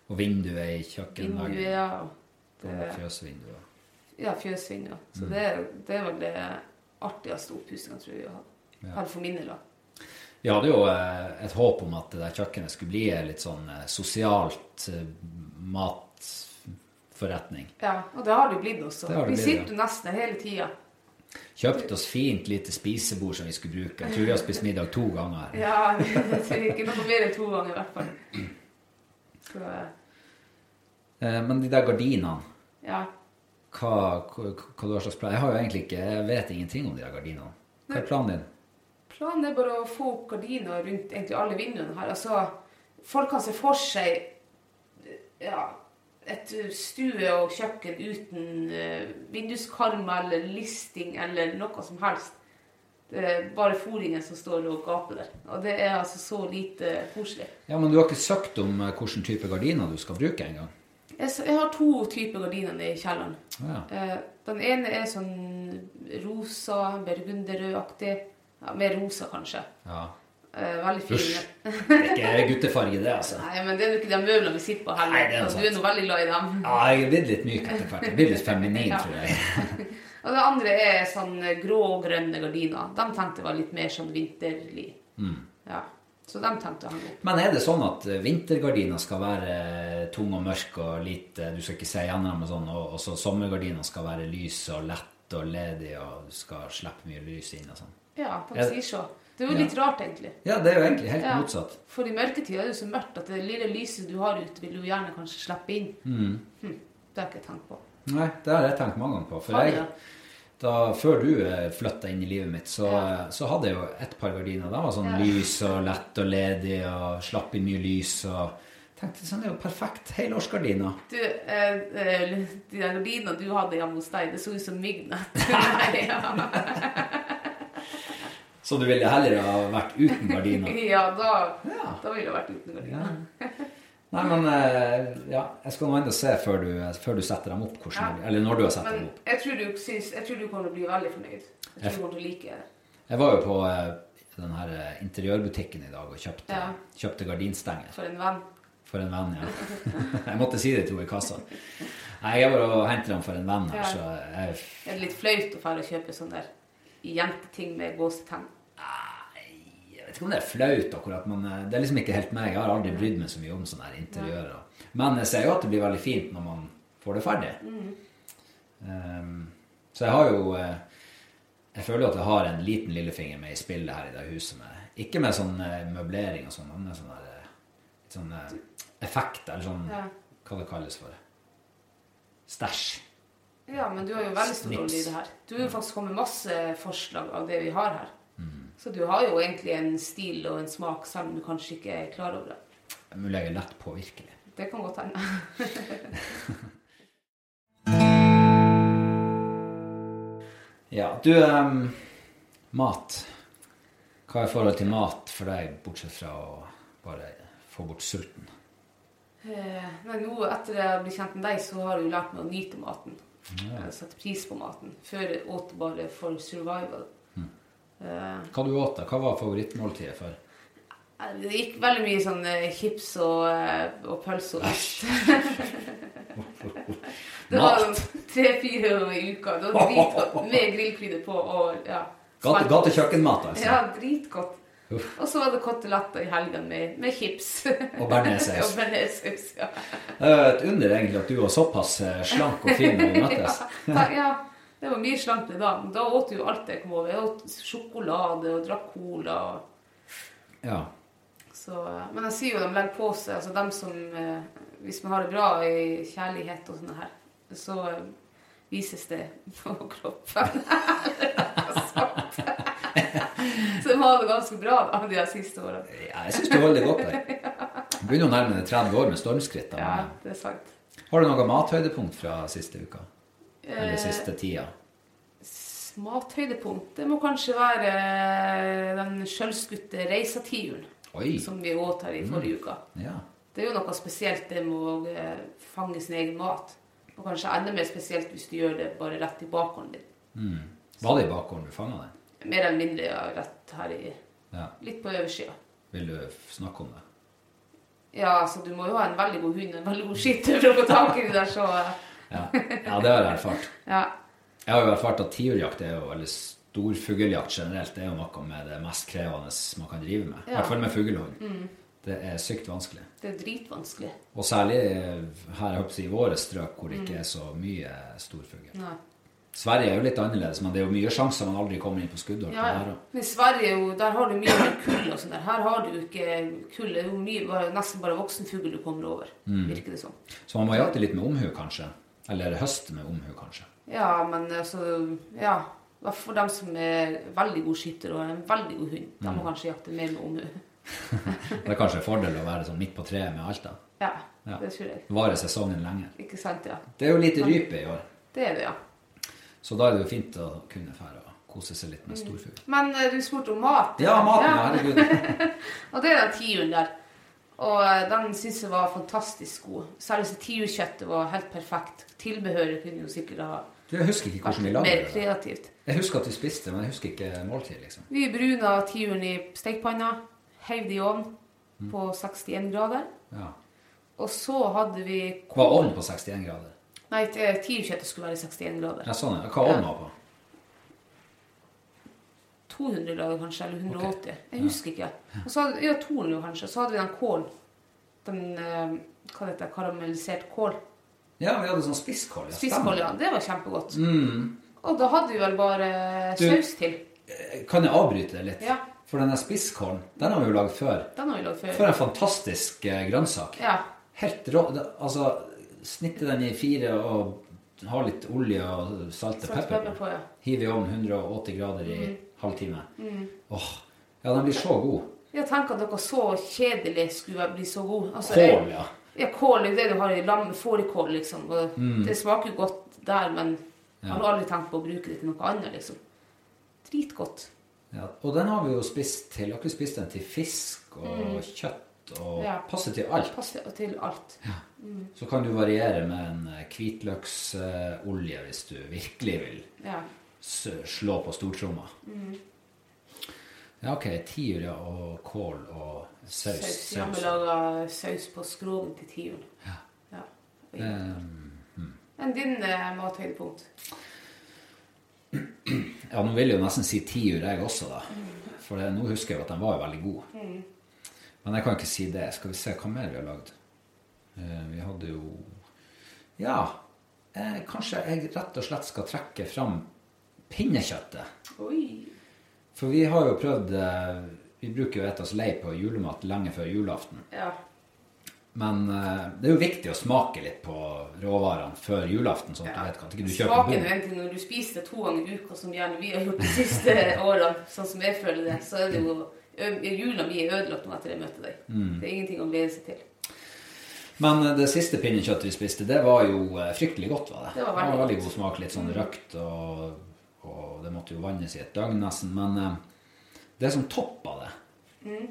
Speaker 1: Og vinduet i kjøkkenveggen.
Speaker 2: vinduer og
Speaker 1: og Fjøsvinduet.
Speaker 2: Ja, fjøsvinduer. Så
Speaker 1: Mm.
Speaker 2: det, det er vel det artigste oppussinga, tror jeg, vi har hatt. I hvert fall for min del. da.
Speaker 1: Vi hadde jo eh, et håp om at det der kjøkkenet skulle bli en litt sånn eh, sosialt eh, matforretning.
Speaker 2: Ja, og det har det jo blitt også.
Speaker 1: Det har det
Speaker 2: vi
Speaker 1: blitt,
Speaker 2: sitter
Speaker 1: ja.
Speaker 2: jo nesten her hele tida.
Speaker 1: Kjøpt oss fint lite spisebord som vi skulle bruke. Jeg tror vi har spist middag to ganger.
Speaker 2: Ja, det er ikke noe mer enn to ganger, i hvert fall. Så,
Speaker 1: Eh, Men de der gardinene,
Speaker 2: ja.
Speaker 1: hva, hva, hva du har slags plan? Jeg har jo egentlig ikke, jeg vet ingenting om de der gardinene. Hva er planen din?
Speaker 2: Planen er bare å få opp gardiner rundt egentlig alle vinduene her. Altså, folk kan se for seg ja, et stue og kjøkken uten eh, vinduskarma eller listing eller noe som helst. Det er bare fôringen som står og gaper der. Og det er altså så lite koselig.
Speaker 1: Ja, men du har ikke søkt om eh, hvilken type gardiner du skal bruke engang.
Speaker 2: Jeg, s- jeg har to typer gardiner nede i kjelleren.
Speaker 1: Ja.
Speaker 2: Eh, den ene er sånn rosa, burgunderrødaktig. Ja, mer rosa, kanskje.
Speaker 1: ja.
Speaker 2: Eh, veldig fin.
Speaker 1: Usch. Det er ikke guttefarge det, altså.
Speaker 2: Nei, men det er jo ikke de møblene vi sitter på heller.
Speaker 1: Nei, det er
Speaker 2: og
Speaker 1: sant.
Speaker 2: du er nå veldig glad i dem.
Speaker 1: Ja, jeg er blitt litt myk etter hvert. Jeg er blitt litt feminin,
Speaker 2: Ja.
Speaker 1: tror jeg.
Speaker 2: Og det andre er sånn grå og grønne gardiner. De tenkte jeg var litt mer sånn vinterlig.
Speaker 1: Mm.
Speaker 2: Ja. Så de tenkte jeg hang opp.
Speaker 1: Men er det sånn at eh, vintergardiner skal være eh, tung og mørk og lite Du skal ikke se gjennom og sånn, og, og så sommergardiner skal være lys og lett og ledig, og du skal slippe mye lys inn og sånn?
Speaker 2: Ja, de
Speaker 1: Ja.
Speaker 2: sier så. Det er jo litt rart, egentlig.
Speaker 1: Ja, det er jo egentlig helt
Speaker 2: Ja.
Speaker 1: motsatt.
Speaker 2: For i mørketida er det jo så mørkt at det lille lyset du har ute, vil du gjerne kanskje slippe inn.
Speaker 1: Mm.
Speaker 2: Hm. Det har jeg ikke tenkt på.
Speaker 1: Nei, det har jeg tenkt mange ganger på. For
Speaker 2: Har du
Speaker 1: jeg,
Speaker 2: det?
Speaker 1: da, før du flytta inn i livet mitt, så, eh, så hadde jeg jo et par gardiner. De var sånn lys og lett og ledig og slapp inn mye lys og tenkte sånn, det er jo perfekt. Helårsgardiner.
Speaker 2: Du, eh, eh, de der gardinene du hadde hjemme hos deg, det så ut som myggnett. Nei, ja.
Speaker 1: Så du ville heller ha vært uten gardiner?
Speaker 2: ja, da,
Speaker 1: Ja.
Speaker 2: da ville jeg vært uten gardiner.
Speaker 1: Ja. Nei, men eh, ja, jeg skal nå enda se før du, før du setter dem opp, hvordan, eller når du har satt dem
Speaker 2: Men
Speaker 1: opp.
Speaker 2: jeg tror, du syns, jeg tror du kommer til å bli veldig fornøyd. Jeg tror du kommer til å like det.
Speaker 1: Jeg var jo på eh, den her eh, interiørbutikken i dag og kjøpte,
Speaker 2: Ja.
Speaker 1: kjøpte gardinstenger
Speaker 2: For en venn.
Speaker 1: for en venn, ja. jeg måtte si det til henne i kassa. Nei, jeg var og hentet dem for en venn her,
Speaker 2: Ja.
Speaker 1: så jeg,
Speaker 2: Det er litt flaut å dra og kjøpe sånn der jenteting med gåsetegn.
Speaker 1: jeg vet ikke om det er flaut akkurat, men eh, det er liksom ikke helt meg. Jeg har aldri brydd meg så mye om sånne her interiører. Men jeg ser jo at det blir veldig fint når man får det ferdig.
Speaker 2: Mm.
Speaker 1: Ehm, så jeg har jo eh, Jeg føler jo at jeg har en liten lillefinger med i spillet her i det huset. Med, ikke med sånn eh, møblering og sånn, men med sånn der eh, litt sånn eh, effekt, eller sånn
Speaker 2: Ja.
Speaker 1: Hva det kalles for. Stæsj.
Speaker 2: Ja, men du har jo veldig stor rolle i det her. Du har jo faktisk kommet med masse forslag av det vi har her. Så du har jo egentlig en stil og en smak, selv om du kanskje ikke er klar over det.
Speaker 1: Mulig jeg er lett påvirkelig.
Speaker 2: Det kan godt hende.
Speaker 1: Ja, du ehm, Mat. Hva er forholdet til mat for deg, bortsett fra å bare få bort sulten?
Speaker 2: Eh, Nei, nå etter jeg ble kjent med deg, så har jeg jo lært meg å nyte maten. Ja. Sette pris på maten. Før jeg åt bare for survival. Eh,
Speaker 1: Hva du åt da? Hva var favorittmåltidet før?
Speaker 2: det gikk veldig mye sånn eh, chips og, eh, og pølse og ost. Det
Speaker 1: Mat!
Speaker 2: var sånn tre-fire ganger i uka. Det var dritgodt. Med grillkrydder på og ja.
Speaker 1: Gate, gatekjøkkenmat, altså.
Speaker 2: Ja, dritgodt.
Speaker 1: Uff.
Speaker 2: Og så var det koteletter i helgen med, med chips.
Speaker 1: Og bearnéssaus.
Speaker 2: Og bearnéssaus, ja.
Speaker 1: Det er jo Eh, et under egentlig at du var såpass eh, slank og fin når vi møttes.
Speaker 2: ja, da- ja, det var mye slant i dag. Da åt jeg jo alt jeg kom over. Jeg åt sjokolade og drakk cola. Og
Speaker 1: Ja.
Speaker 2: så, men jeg sier jo de legger på seg. Altså dem som, eh, hvis man har det bra i kjærlighet og sånne her, så eh, vises det på kroppen. Så det var det ganske bra da, de her siste årene.
Speaker 1: Ja, jeg syns du holder det godt der. Begynner å nærme deg 30 år med stormskritt. da,
Speaker 2: Ja,
Speaker 1: men- eh,
Speaker 2: det er sant.
Speaker 1: Har du noe mathøydepunkt fra siste uka?
Speaker 2: Eh,
Speaker 1: Eller siste tida?
Speaker 2: Mathøydepunkt det må kanskje være eh, den sjølskutte reisatiuren
Speaker 1: Oi!
Speaker 2: som vi åt her i forrige uke.
Speaker 1: Ja.
Speaker 2: Det er jo noe spesielt det med å eh, fange sin egen mat. Og kanskje enda mer spesielt hvis du gjør det bare rett i bakhånden din.
Speaker 1: Var det i bakgården du fanga den?
Speaker 2: Mer eller mindre ja, rett her i
Speaker 1: Ja.
Speaker 2: Litt på oversida.
Speaker 1: Vil du f- snakke om det?
Speaker 2: Ja, så du må jo ha en veldig god hund og en veldig god skitter for å få tak i de der, så eh,
Speaker 1: Ja, ja det har jeg erfart.
Speaker 2: Ja.
Speaker 1: Jeg har jo erfart at tiurjakt er jo veldig stor fugljakt generelt. Det er jo noe med det mest krevende man kan drive med. I
Speaker 2: Ja. Mm.
Speaker 1: hvert fall med fuglehund. Det er sykt vanskelig.
Speaker 2: Det er dritvanskelig.
Speaker 1: Og særlig eh, her jeg håper å si, i våre strøk hvor det ikke er så mye storfugl.
Speaker 2: Mm. Nei.
Speaker 1: Sverige er jo litt annerledes, men det er jo mye sjanser man aldri kommer inn på skuddhold.
Speaker 2: Ja,
Speaker 1: på
Speaker 2: ja.
Speaker 1: der også.
Speaker 2: Men i Sverige er jo, der har du mye mer kull og sånn der. Her har du jo ikke kull. Det er jo mye, bare, nesten bare voksen fugl du kommer over, virker det som.
Speaker 1: Så man må jakte litt med omhu, kanskje. Eller høste med omhu, kanskje.
Speaker 2: Ja, men altså Ja. I hvert fall For dem som er veldig god skytter og en veldig god hund, de
Speaker 1: Mm.
Speaker 2: må kanskje jakte mer med omhu.
Speaker 1: Det er kanskje en fordel å være sånn midt på treet med alt, da.
Speaker 2: Ja,
Speaker 1: Ja.
Speaker 2: det tror jeg.
Speaker 1: Varer sesongen lenge.
Speaker 2: Ikke sant, ja.
Speaker 1: Det er jo lite rype i år,
Speaker 2: Det er det, ja.
Speaker 1: så da er det jo fint å kunne fære og kose seg litt med storfugl.
Speaker 2: Men eh, du spurte om mat.
Speaker 1: Ja, maten, ja. herregud.
Speaker 2: Og det er den tiuren der. Og eh, den syns jeg var fantastisk god. Selveste tiurkjøttet var helt perfekt. Tilbehøret kunne jo sikkert ha
Speaker 1: Du, Jeg husker ikke
Speaker 2: vært
Speaker 1: hvordan vi
Speaker 2: mer
Speaker 1: lager det.
Speaker 2: kreativt.
Speaker 1: Jeg husker at vi spiste, men jeg husker ikke måltid, liksom.
Speaker 2: Vi bruna tiuren i stekepanna, heiv det i ovnen
Speaker 1: Mm.
Speaker 2: på 61 grader.
Speaker 1: Ja.
Speaker 2: Og så hadde vi
Speaker 1: Hva var ovnen på 61 grader?
Speaker 2: Nei, eh, tiurkjøttet skulle være i 61 grader.
Speaker 1: Ja, sånn, ja. Hva ovnen var på?
Speaker 2: 200 grader kanskje, eller 180. Jeg husker ikke. Og så hadde, ja, 200 kanskje. Så hadde vi den kålen. Den, eh, hva heter det, karamellisert kål.
Speaker 1: Ja, vi hadde sånn spisskål. Ja,
Speaker 2: Spisskål, ja. Det var kjempegodt. Og da hadde vi vel bare
Speaker 1: Mm. Du-
Speaker 2: saus til.
Speaker 1: stemmer. Eh, Kan jeg avbryte deg litt?
Speaker 2: Ja.
Speaker 1: For denne spisskålen, den har vi jo lagd før.
Speaker 2: Den har vi lagd før.
Speaker 1: For en fantastisk eh, grønnsak.
Speaker 2: Ja.
Speaker 1: Helt rå. det- Altså, snitte den i fire og ha litt olje og salt og
Speaker 2: Salt og
Speaker 1: pepper
Speaker 2: pepper på, ja.
Speaker 1: Hiv i ovnen 180 grader i
Speaker 2: Mm.
Speaker 1: halvtime. Åh, ja, den blir så god.
Speaker 2: Jeg tenker at noe så kjedelig skulle være- bli så god. Altså,
Speaker 1: Kål,
Speaker 2: jeg-
Speaker 1: ja.
Speaker 2: Ja, kål er jo det du har i lam, fårikål, liksom. Og
Speaker 1: Mm.
Speaker 2: Det smaker jo godt der, men jeg har aldri tenkt på å bruke det til noe annet, liksom. Dritgodt.
Speaker 1: Ja, og den har vi jo spist til. Har ikke vi spist den til fisk og kjøtt og
Speaker 2: Mm. Ja.
Speaker 1: passer til alt?
Speaker 2: Passer til alt.
Speaker 1: Så kan du variere med en eh, hvitløksolje hvis du virkelig vil
Speaker 2: Ja.
Speaker 1: s slå på stortromma.
Speaker 2: Mm.
Speaker 1: Ja, ok. Tiur ja, og kål og saus.
Speaker 2: Saus. Ja,
Speaker 1: saus.
Speaker 2: vi lager saus på skrogen til tiuren. Ja. Men din eh, mathøydepunkt?
Speaker 1: Ja, nå vil jeg jo nesten si tiur jeg også, da. For det, nå husker jeg jo at den var jo veldig god. Men jeg kan jo ikke si det. Skal vi se hva mer vi har lagd. Eh, vi hadde jo Ja, eh, kanskje jeg rett og slett skal trekke fram pinnekjøttet.
Speaker 2: Oi.
Speaker 1: For vi har jo prøvd eh, Vi bruker jo å ete oss lei på julemat lenge før julaften.
Speaker 2: Ja.
Speaker 1: Men eh, det er jo viktig å smake litt på råvarene før julaften, sånn at du vet hva at ikke du kjøper
Speaker 2: Smaken
Speaker 1: bom.
Speaker 2: er jo en ting når du spiser det to ganger i uka, som gjerne vi har gjort de siste årene, sånn som jeg føler det, så er det jo ø- Jula mi er ødelagt nå etter jeg møtte deg.
Speaker 1: Mm.
Speaker 2: Det er ingenting å glede seg til.
Speaker 1: Men eh, det siste pinnekjøttet vi spiste, det var jo eh, fryktelig godt, var det?
Speaker 2: Det var veldig godt. Mm.
Speaker 1: veldig god smak, litt sånn røkt, og, og det måtte jo vannes i et døgn nesten. Men eh, det som toppa det,
Speaker 2: Mm.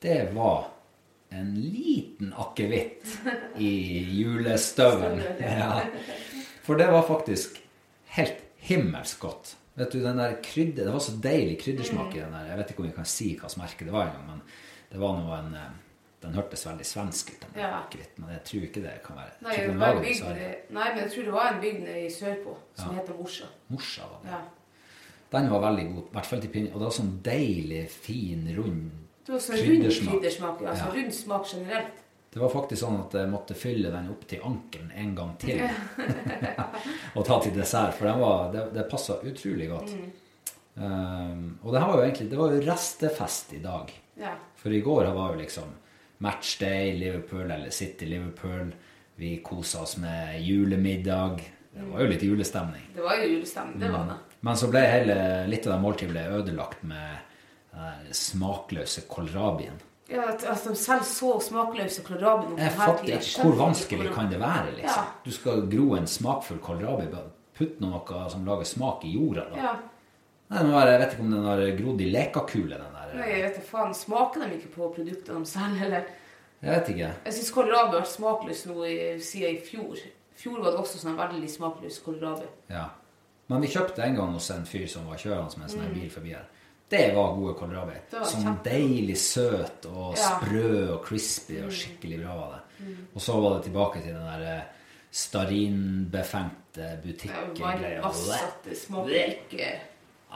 Speaker 1: det var en liten akevitt i julestøvelen.
Speaker 2: Støvelen,
Speaker 1: ja. For det var faktisk helt himmelsk godt. Vet du, den der krydder, Det var så deilig kryddersmak i den der. Jeg vet ikke om vi kan si hva slags merke det var engang, men det var noe en eh, Den hørtes veldig svensk ut, den der
Speaker 2: Ja.
Speaker 1: akevitten, men jeg tror ikke det kan være
Speaker 2: Nei,
Speaker 1: jeg tror
Speaker 2: det
Speaker 1: den
Speaker 2: var
Speaker 1: lager det i
Speaker 2: en bygd,
Speaker 1: Sverige.
Speaker 2: nei, men jeg tror det var en bygd nede i sørpå som heter Morsa.
Speaker 1: Morsa var det.
Speaker 2: Ja.
Speaker 1: Den var veldig god, i hvert fall til pinne. Og det var sånn deilig, fin, rund
Speaker 2: Det var sånn rund
Speaker 1: Kryddersmak.
Speaker 2: kryddersmak. ja, Altså
Speaker 1: Ja.
Speaker 2: rund smak generelt.
Speaker 1: Det var faktisk sånn at jeg måtte fylle den opp til ankelen en gang til. og ta til dessert, for den var, det, det passa utrolig godt. Um, og det her var jo egentlig Det var jo restefest i dag.
Speaker 2: Ja.
Speaker 1: For i går var jo liksom matchday Liverpool eller City Liverpool. Vi kosa oss med julemiddag. Det var jo litt julestemning. Mm.
Speaker 2: Det var jo julestemning, det var det.
Speaker 1: Men så ble hele, litt av det måltidet ble ødelagt med den her smakløse kålrabien.
Speaker 2: Ja, at, at de selger så smakløse kålrabi nå
Speaker 1: Jeg fatter ikke Eh, hvor vanskelig kan det være, liksom.
Speaker 2: Ja.
Speaker 1: Du skal gro en smakfull kålrabi. bare Putt noe som lager smak i jorda, da.
Speaker 2: Ja.
Speaker 1: Nei, den var, jeg vet ikke om den har grodd i lekakule, den der.
Speaker 2: Nei, jeg vet da faen. Smaker de ikke på produktene de selger, eller?
Speaker 1: Jeg vet ikke.
Speaker 2: Jeg syns kålrabi har vært smakløs nå i, siden i fjor. I fjor var det også sånn veldig smakløs kålrabi.
Speaker 1: Ja. Men vi kjøpte en gang hos en fyr som var kjørende med en sånn her bil forbi her. Det var gode kålrabi.
Speaker 2: Mm. Det var
Speaker 1: Sånn
Speaker 2: kjempe-
Speaker 1: deilig søt og
Speaker 2: Ja. Mm.
Speaker 1: sprø og crispy og skikkelig bra var det. Og så var det tilbake til den der eh, starinbefengte butikkgreia. Bleh.
Speaker 2: Vannvassatte smaker ikke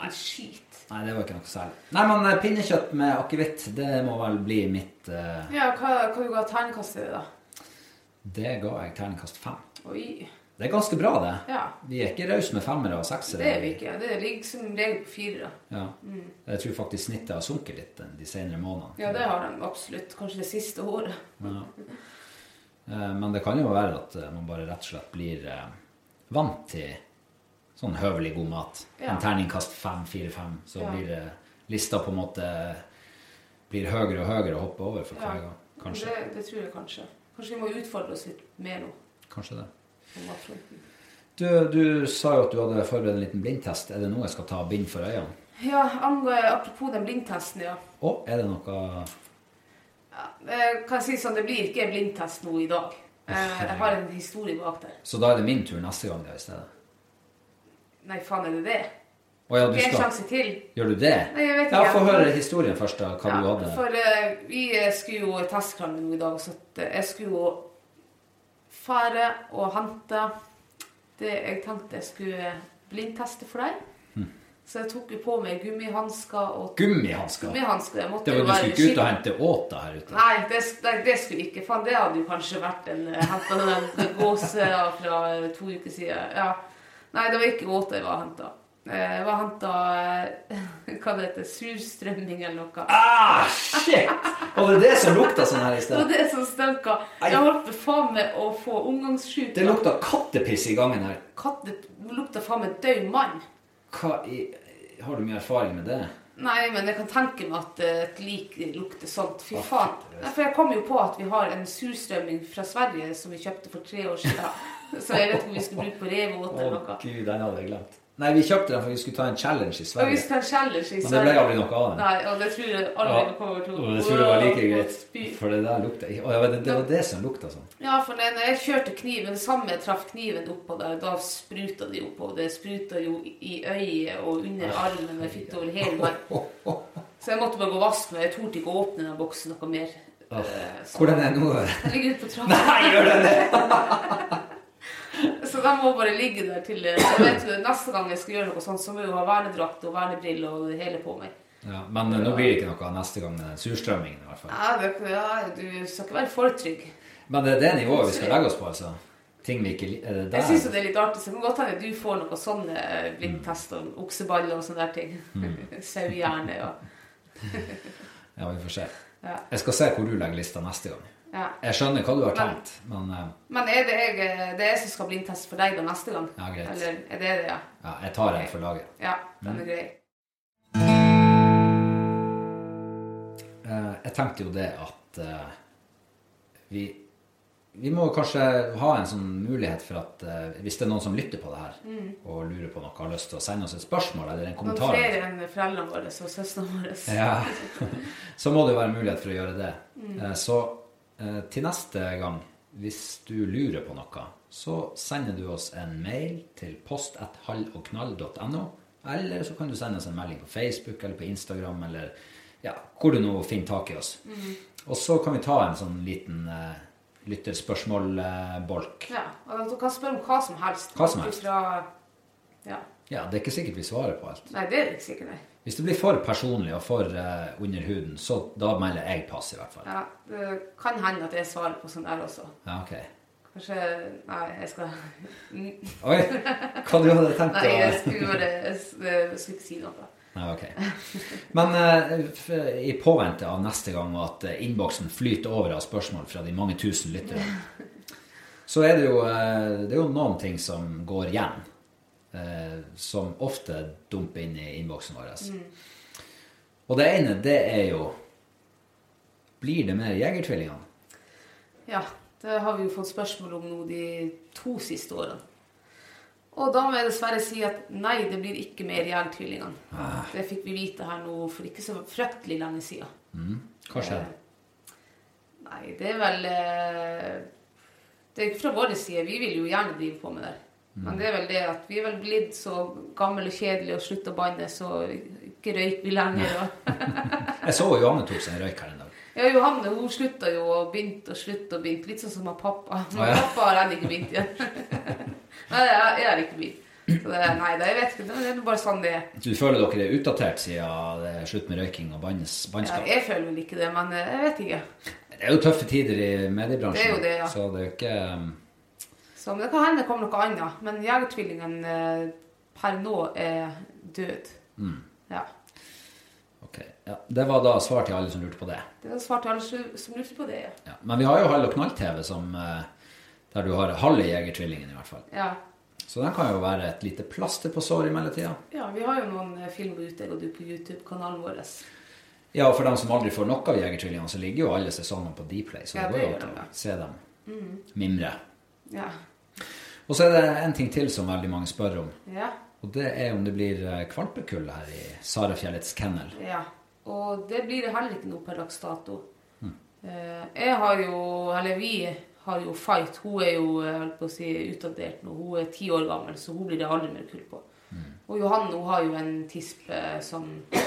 Speaker 2: en skit.
Speaker 1: Nei, det var ikke noe særlig. Nei, men eh, pinnekjøtt med akevitt, det må vel bli mitt eh,
Speaker 2: Ja, hva kan du ga terningkast til det, da?
Speaker 1: Det ga jeg terningkast fem.
Speaker 2: Oi.
Speaker 1: Det er ganske bra, det.
Speaker 2: Ja.
Speaker 1: Vi er ikke rause med femmere og seksere.
Speaker 2: Det er vi ikke. Det ligger som regel på fire. da.
Speaker 1: Ja. Jeg tror faktisk snittet har sunket litt den- de senere månedene.
Speaker 2: Ja, det har de absolutt. Kanskje det siste året.
Speaker 1: Ja. Eh, Men det kan jo være at eh, man bare rett og slett blir eh, vant til sånn høvelig god mat.
Speaker 2: Ja.
Speaker 1: En terningkast fem, fire, fem, så
Speaker 2: Ja.
Speaker 1: blir eh, lista på en måte blir høyere og høyere å hoppe over for
Speaker 2: Ja.
Speaker 1: hver gang. Kanskje.
Speaker 2: Det, det tror jeg kanskje. Kanskje vi må utfordre oss litt mer nå
Speaker 1: Kanskje det.
Speaker 2: på matfronten.
Speaker 1: Du, du sa jo at du hadde forberedt en liten blindtest. Er det nå jeg skal ta bind for øynene?
Speaker 2: Ja, angå- apropos den blindtesten, ja.
Speaker 1: Og er det noe
Speaker 2: ja. eh, Kan jeg si sånn, det blir ikke en blindtest nå i dag. Eh, Jeg har en historie bak der.
Speaker 1: Så da er det min tur neste gang, da, i stedet?
Speaker 2: Nei, faen, er det det?
Speaker 1: Å ja, du
Speaker 2: Ikke en
Speaker 1: skal
Speaker 2: sjanse til.
Speaker 1: Gjør du det?
Speaker 2: Nei, jeg vet
Speaker 1: Ja,
Speaker 2: ikke.
Speaker 1: få høre historien først, da. Hva du
Speaker 2: Ja,
Speaker 1: hadde.
Speaker 2: for eh, vi eh, skulle jo testkrangel nå i dag, så at eh, jeg skulle jo fare og hente det jeg tenkte jeg skulle blindteste for deg.
Speaker 1: Hm.
Speaker 2: Så jeg tok jo på meg gummihansker og
Speaker 1: Gummihansker.
Speaker 2: gummihansker. Jeg måtte
Speaker 1: Det var
Speaker 2: jo
Speaker 1: Du
Speaker 2: være
Speaker 1: skulle ikke ut og
Speaker 2: skikkelig-
Speaker 1: hente åta her ute?
Speaker 2: Nei, det, sk- nei, det skulle jeg ikke. Faen, det hadde jo kanskje vært en eh, henta den gåsa fra eh, to uker siden. Ja. Nei, det var ikke gåta jeg var henta. Jeg var henta hva det heter, surstrømming eller noe.
Speaker 1: Ah, shit! Var det det som lukta sånn her i
Speaker 2: Det var
Speaker 1: sted?
Speaker 2: det som stinka. Jeg holdt på faen med å få omgangssjuke.
Speaker 1: Det lukta kattepiss i gangen her.
Speaker 2: Katte lukta faen meg død mann.
Speaker 1: Hva i Har du mye erfaring med det?
Speaker 2: Nei, men jeg kan tenke meg at eh, et lik lukter sånt. Fy faen. Nei, For jeg kom jo på at vi har en surstrømming fra Sverige som vi kjøpte for tre år siden. Så jeg vet ikke om vi skulle bruke på revåt
Speaker 1: Å
Speaker 2: eller noe.
Speaker 1: gud, den hadde jeg glemt. Nei, vi kjøpte den for vi skulle ta en challenge i
Speaker 2: Og vi
Speaker 1: Sverige.
Speaker 2: skal ha en challenge i
Speaker 1: Men det ble aldri noe av den.
Speaker 2: Nei, og det tror jeg aldri
Speaker 1: Ja,
Speaker 2: det kommer til å
Speaker 1: og jeg tror det var like
Speaker 2: Wow,
Speaker 1: greit,
Speaker 2: spy.
Speaker 1: for det der lukta Å, ja, det, det var det som lukta sånn.
Speaker 2: Ja, for når når jeg kjørte kniven, samme jeg traff kniven oppå der, da spruta det jo på. Det spruta jo i i øyet og under armen. og Jeg fikk det over hele meg. Så jeg måtte bare gå og vaske meg. Jeg torde ikke å åpne den boksen noe mer. Eh, så-
Speaker 1: Hvordan er det nå?
Speaker 2: Den ligger ute på trappa,
Speaker 1: Nei, gjør den det?
Speaker 2: så den må bare ligge der til eh, jeg vet, jo, Neste gang jeg skal gjøre noe sånt, så må jeg jo ha vernedrakt og vernebriller og det hele på meg.
Speaker 1: Ja, men eh, nå blir det ikke noe av neste gang med den surstrømmingen, i hvert fall.
Speaker 2: Ja, det, ja, du skal ikke være for trygg.
Speaker 1: Men eh, det er det nivået vi skal legge oss på, altså. Ting vi ikke li- Er det
Speaker 2: Jeg syns
Speaker 1: der?
Speaker 2: det er litt artig, så det kan godt hende du får noen sånne eh, blindtester om okseballer og sånne der ting.
Speaker 1: Mm.
Speaker 2: Sauehjerne og
Speaker 1: Ja, vi får se.
Speaker 2: Ja.
Speaker 1: Jeg skal se hvor du legger lista neste gang.
Speaker 2: ja.
Speaker 1: Jeg skjønner hva du har
Speaker 2: Men-
Speaker 1: tenkt, men eh,
Speaker 2: Men er det jeg, eh, det er jeg som skal blindteste for deg da neste gang?
Speaker 1: Ja, greit. Mm.
Speaker 2: Eller er det det, ja?
Speaker 1: ja, jeg tar en for laget.
Speaker 2: Ja, den er grei.
Speaker 1: Eh, jeg tenkte jo det at eh, vi, vi må kanskje ha en sånn mulighet for at eh, hvis det er noen som lytter på det her og lurer på noe, har lyst til å sende oss et spørsmål eller en
Speaker 2: Mm. Noen
Speaker 1: kommentar,
Speaker 2: flere enn foreldrene våre og søstrene våre.
Speaker 1: ja, så må det jo være mulighet for å gjøre det.
Speaker 2: Mm.
Speaker 1: Eh, så eh, til neste gang, hvis du lurer på noe, så sender du oss en mail til post.hallogknall.no, eller så kan du sende oss en melding på Facebook eller på Instagram, eller ja, hvor du nå finner tak i oss.
Speaker 2: Mm.
Speaker 1: Og så kan vi ta en sånn liten eh, lytterspørsmålbolk.
Speaker 2: Ja, og Du kan spørre om hva som helst.
Speaker 1: Hva som helst.
Speaker 2: Fra, ja.
Speaker 1: Ja, det er ikke sikkert vi svarer på alt.
Speaker 2: Nei, det er det ikke sikkert, nei.
Speaker 1: Hvis det blir for personlig og for eh, under huden, så da melder jeg pass i hvert fall.
Speaker 2: Ja, det kan hende at jeg svarer på sånn der også.
Speaker 1: Ja, ok.
Speaker 2: Kanskje Nei, jeg skal
Speaker 1: Oi, hva du hadde tenkt
Speaker 2: Nei, jeg
Speaker 1: å...
Speaker 2: skulle bare Jeg skulle ikke si noe.
Speaker 1: Nei, ok. Men eh, f- i påvente av neste gang og at eh, innboksen flyter over av spørsmål fra de mange tusen lyttere, så er det jo, eh, det er jo noen ting som går igjen,
Speaker 2: Mm.
Speaker 1: eh, som ofte dumper inn i innboksen vår. Og det ene, det er jo Blir det mer Jegertvillingene?
Speaker 2: Ja, det har vi jo fått spørsmål om nå de to siste årene. Og da må jeg dessverre si at nei, det blir ikke mer Jærtvillingene. Det fikk vi vite her nå for ikke så fryktelig lenge siden.
Speaker 1: Hva skjer?
Speaker 2: Nei, det er vel eh, Det er ikke fra vår side. Vi vil jo gjerne drive på med det. Men det er vel det at vi er vel blitt så gamle og kjedelige og slutt å banne, så ikke røyker vi lenger. Og.
Speaker 1: Jeg så Johanne tok seg en røyk her en dag.
Speaker 2: Ja, Johanne hun slutta jo og begynte og slutta og begynte. Litt sånn som han pappa. Men
Speaker 1: ja.
Speaker 2: Pappa har ennå ikke begynt igjen. nei, jeg, jeg har ikke begynt. Så det, nei, det, jeg vet ikke. Det er jo bare sånn det er.
Speaker 1: Du føler dere er utdatert siden det er slutt med røyking og bannes-
Speaker 2: Ja,
Speaker 1: bannskap?
Speaker 2: jeg føler vel ikke det, men eh, jeg vet ikke.
Speaker 1: Det er jo tøffe tider i mediebransjen,
Speaker 2: Det er jo det, ja.
Speaker 1: så det er jo ikke um,
Speaker 2: Så men det kan hende det kommer noe annet. Men Jegertvillingen eh, per nå er død. Ja.
Speaker 1: Ok. Ja, det var da svar til alle som lurte på det.
Speaker 2: Det svarte alle som som lurte på det.
Speaker 1: Ja. Men vi har jo Hall og Knall-TV, som, eh, der du har halve Jegertvillingen i hvert fall.
Speaker 2: Ja.
Speaker 1: Så den kan jo være et lite plaster på såret i mellomtida.
Speaker 2: ja, vi har jo noen eh, filmer ute og du på YouTube-kanalen vår.
Speaker 1: Ja, for dem som aldri får nok av Jegertvillingene, så ligger jo alle sesongene på Dplay, så
Speaker 2: Ja,
Speaker 1: det
Speaker 2: det Mm.
Speaker 1: går jo
Speaker 2: gjør
Speaker 1: an
Speaker 2: de, ja.
Speaker 1: å se dem mimre.
Speaker 2: Ja.
Speaker 1: Og så er det en ting til som veldig mange spør om,
Speaker 2: ja.
Speaker 1: og det er om det blir eh, kvalpekull her i Sarafjellets kennel.
Speaker 2: Ja. Og det blir det heller ikke noe per dags dato.
Speaker 1: Hm.
Speaker 2: Eh, Jeg har jo, eller vi har jo Fight. Hun er jo jeg holdt på å si, utdatert nå. Hun er ti år gammel, så hun blir det aldri mer kull på.
Speaker 1: Hm.
Speaker 2: Og Johanne hun har jo en tispe som jeg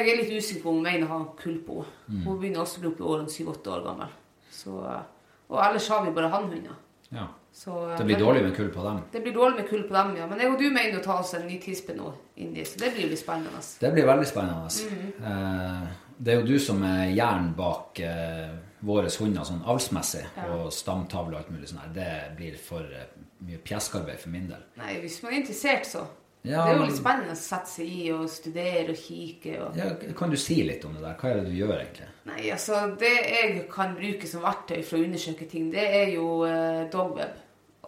Speaker 2: er litt usikker på om hun mener å ha kull på.
Speaker 1: Hm.
Speaker 2: Hun begynner også å bli oppi årene syv-åtte år gammel. Så, eh, og ellers har vi bare hannhunder.
Speaker 1: Ja.
Speaker 2: Så,
Speaker 1: Det blir
Speaker 2: men-
Speaker 1: dårlig med kull på dem.
Speaker 2: Det blir dårlig med kull på dem, ja. Men jeg og du mener å ta oss en ny tispe nå, Indi, så det blir jo litt spennende.
Speaker 1: Det blir veldig spennende.
Speaker 2: Mm.
Speaker 1: Eh, Det er jo du som er jern bak eh, våre hunder sånn avlsmessig, og stamtavle og alt mulig sånn her. Det blir for eh, mye pjeskarbeid for min del.
Speaker 2: Nei, hvis man er interessert, så.
Speaker 1: Ja,
Speaker 2: det er jo
Speaker 1: men-
Speaker 2: litt spennende å sette seg i og studere og kikke og
Speaker 1: Ja, kan du si litt om det der? Hva er det du gjør egentlig?
Speaker 2: Nei, altså, det jeg kan bruke som verktøy for å undersøke ting, det er jo eh, Dogweb.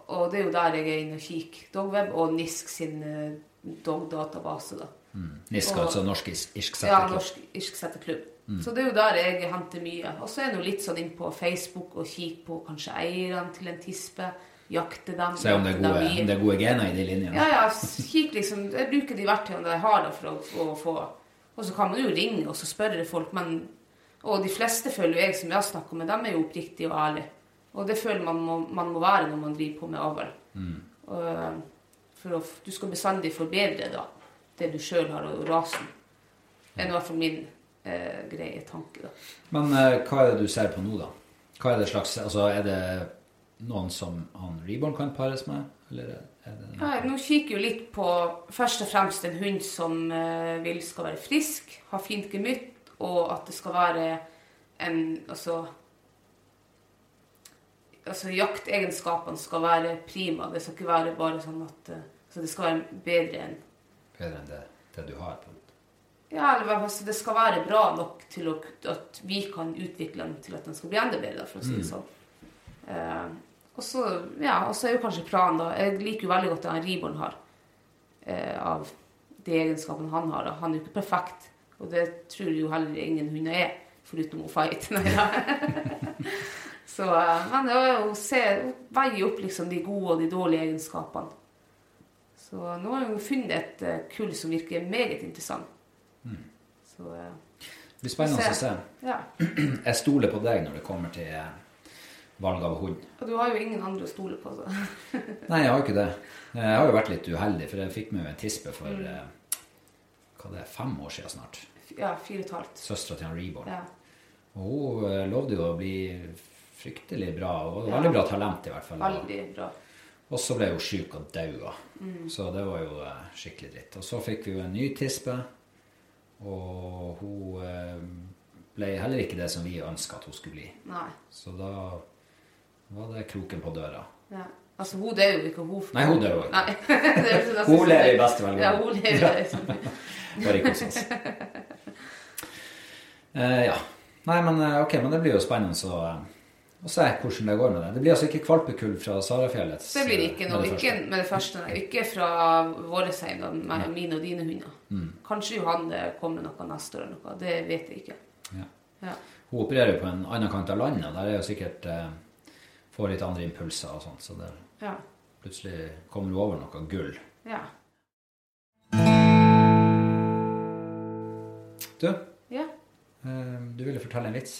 Speaker 2: Og det er jo der jeg er inne og kikker. Dogweb og NISK sin eh, dog-database, da.
Speaker 1: Niska,
Speaker 2: Og-
Speaker 1: altså norsk is- irsk
Speaker 2: Ja,
Speaker 1: setteklubb.
Speaker 2: Norsk Irsk Setterklubb.
Speaker 1: Mm.
Speaker 2: Så det er jo der jeg henter mye. Og så er jeg nå litt sånn inn på Facebook og kikker på kanskje eierne til en tispe. Jakte dem.
Speaker 1: Se om det er
Speaker 2: jakte dem
Speaker 1: gode,
Speaker 2: i-
Speaker 1: om det er gode gener i de linjene.
Speaker 2: Ja, ja, kikk liksom, jeg bruker de verktøyene jeg har da for å, å få Og så kan man jo ringe og så spørre folk, men Og de fleste føler jo jeg som jeg har snakket med, dem er jo oppriktige og ærlige. Og det føler man må, man må være når man driver på med avl. Og, For å, du skal bestandig forbedre da det du sjøl har, og rasen. Det er i hvert fall min eh, greie tanke, da.
Speaker 1: Men eh, hva er det du ser på nå, da? Hva er det slags Altså, er det noen som han Reborn kan pares med? Eller er det
Speaker 2: Nei, nå kikker jeg jo litt på først og fremst en hund som eh, vil skal være frisk, ha fint gemytt, og at det skal være en Altså Altså jaktegenskapene skal være prima. Det skal ikke være bare sånn at eh, Så det skal være bedre enn
Speaker 1: bedre enn det, det du har? på en måte?
Speaker 2: Ja, eller hva- altså, det skal være bra nok til å, at vi kan utvikle den til at den skal bli enda bedre, for å si det sånn. Eh, og så ja, og så er jo kanskje planen, da Jeg liker jo veldig godt det han Riborn har. eh, av de egenskapene han har. Da. Han er jo ikke perfekt, og det tror jo heller ingen hunder er, foruten å fight. Nei, da. så, eh, men det er jo å se, å veie opp liksom de gode og de dårlige egenskapene. Så nå har jeg jo funnet et eh, kull som virker meget interessant. Så eh,
Speaker 1: Det blir spennende å se.
Speaker 2: ja.
Speaker 1: Jeg stoler på deg når det kommer til eh, valg av hund.
Speaker 2: Og du har jo ingen andre å stole på, så.
Speaker 1: Nei, jeg har jo ikke det. Jeg har jo vært litt uheldig, for jeg fikk meg jo en tispe for
Speaker 2: Mm.
Speaker 1: eh, hva det er, fem år siden snart.
Speaker 2: Ja, fire og et halvt.
Speaker 1: Søstera til han Reborn.
Speaker 2: Ja.
Speaker 1: Og hun eh, lovde jo å bli fryktelig bra, og veldig bra talent i hvert fall.
Speaker 2: Veldig Mm. bra.
Speaker 1: Og så ble hun syk og daua. Så det var jo eh, skikkelig dritt. Og så fikk vi jo en ny tispe, og hun eh, ble heller ikke det som vi ønska at hun skulle bli.
Speaker 2: Nei.
Speaker 1: Så da var det kroken på døra.
Speaker 2: Ja. Altså, hun dør jo ikke. Hun
Speaker 1: Nei, hun døde jo ikke.
Speaker 2: Nei. Det er jo sånn-
Speaker 1: Hun lever i beste velgående.
Speaker 2: Ja, hun lever liksom.
Speaker 1: Bare ikke hos oss. Eh, ja. Nei, men eh, ok, men det blir jo spennende å eh, og se hvordan det går med det. Det blir altså ikke valpekull fra Sarafjellets
Speaker 2: Det blir ikke noe
Speaker 1: med det første.
Speaker 2: ikke med det første. Nei. Ikke fra våre eiendom, meg og mine og dine hunder.
Speaker 1: Mm.
Speaker 2: Kanskje Johan det kommer noe neste år eller noe. Det vet jeg ikke.
Speaker 1: Ja.
Speaker 2: Ja.
Speaker 1: Hun opererer jo på en annen kant av landet, og der er jo sikkert eh, Får litt andre impulser og sånt, så det,
Speaker 2: Ja.
Speaker 1: plutselig kommer hun over noe gull.
Speaker 2: Ja.
Speaker 1: Du,
Speaker 2: ja.
Speaker 1: eh, du ville fortelle en vits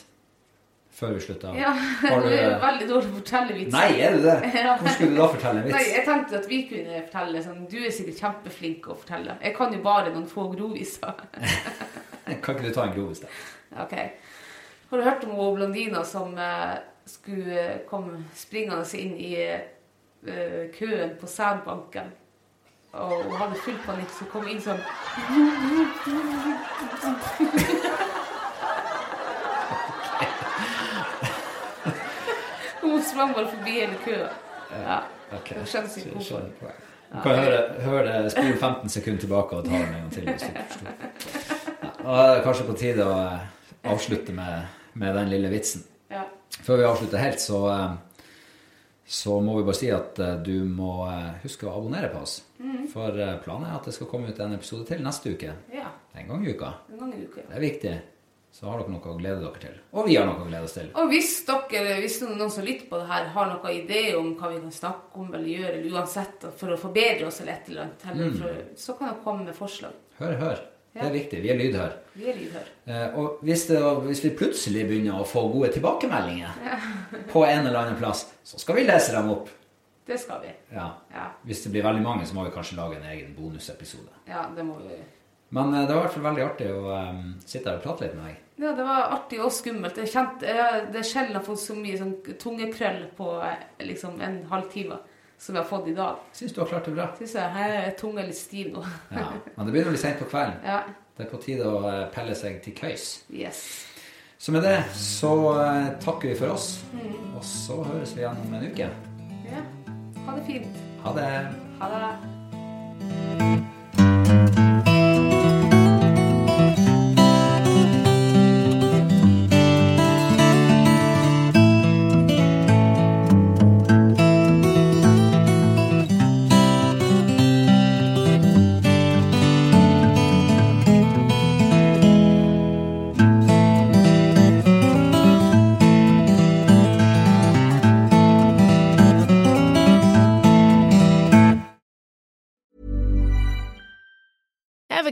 Speaker 1: før vi slutta.
Speaker 2: ja.
Speaker 1: Har
Speaker 2: Du
Speaker 1: du
Speaker 2: er veldig dårlig til å fortelle vitser.
Speaker 1: Nei, er du det? Hvordan skulle du da fortelle en
Speaker 2: Nei,
Speaker 1: vits?
Speaker 2: jeg tenkte at vi kunne fortelle sånn Du er sikkert kjempeflink å fortelle. Jeg kan jo bare noen få groviser.
Speaker 1: Kan ikke du ta en grov i sted?
Speaker 2: Ok. Har du hørt om hun blondina som eh, skulle eh, komme springende inn i eh, køen på sædbanken? Og hun hadde full panikk, så kom inn sånn Hun sprang bare forbi hele køen. Ja.
Speaker 1: Ok,
Speaker 2: Hun skjønner ikke
Speaker 1: så-
Speaker 2: hvorfor.
Speaker 1: skjønner poeng. Du kan høre, høre det spole 15 sekunder tilbake og ta den en gang til. Hvis du ikke forstår. Ja, og da er det kanskje på tide å eh, avslutte med, med den lille vitsen.
Speaker 2: Ja.
Speaker 1: Før vi avslutter helt, så, eh, så må vi bare si at eh, du må eh, huske å abonnere på oss.
Speaker 2: Mm.
Speaker 1: For eh, planen er at det skal komme ut en episode til neste uke.
Speaker 2: ja.
Speaker 1: En gang i uka.
Speaker 2: En gang i uka.
Speaker 1: Det er viktig. Så har dere noe å glede dere til. Og vi har noe å glede oss til.
Speaker 2: Og hvis dere, hvis noen som lytter på det her, har noen idé om hva vi kan snakke om eller gjøre, eller uansett for å forbedre oss eller et eller annet, eller for, så kan dere komme med forslag.
Speaker 1: Hør, hør. Det
Speaker 2: Ja.
Speaker 1: er viktig. Vi er lydhøre.
Speaker 2: Vi er lydhøre.
Speaker 1: Eh, Og hvis, det, hvis vi plutselig begynner å få gode tilbakemeldinger på en eller annen plass, så skal vi lese dem opp.
Speaker 2: Det skal vi.
Speaker 1: Ja.
Speaker 2: Ja.
Speaker 1: Hvis det blir veldig mange, så må vi kanskje lage en egen bonusepisode.
Speaker 2: Ja, det må vi gjøre.
Speaker 1: Men eh, det var i hvert fall veldig artig å eh, sitte her og prate litt med deg.
Speaker 2: Ja, det var artig og skummelt. Jeg kjente, jeg, det er sjelden jeg har fått så mye sånn tungekrøll på eh, liksom en halvtime som jeg har fått i dag.
Speaker 1: Syns du har klart det bra.
Speaker 2: Syns jeg her er tunga litt stiv nå.
Speaker 1: Ja. Men det begynner å bli seint på kvelden.
Speaker 2: Ja.
Speaker 1: Det er på tide å eh, pelle seg til køys.
Speaker 2: Yes.
Speaker 1: Så med det så eh, takker vi for oss, og så høres vi igjen om en uke.
Speaker 2: Ja. Ha det fint.
Speaker 1: Ha det.
Speaker 2: Ha det.
Speaker 3: Ever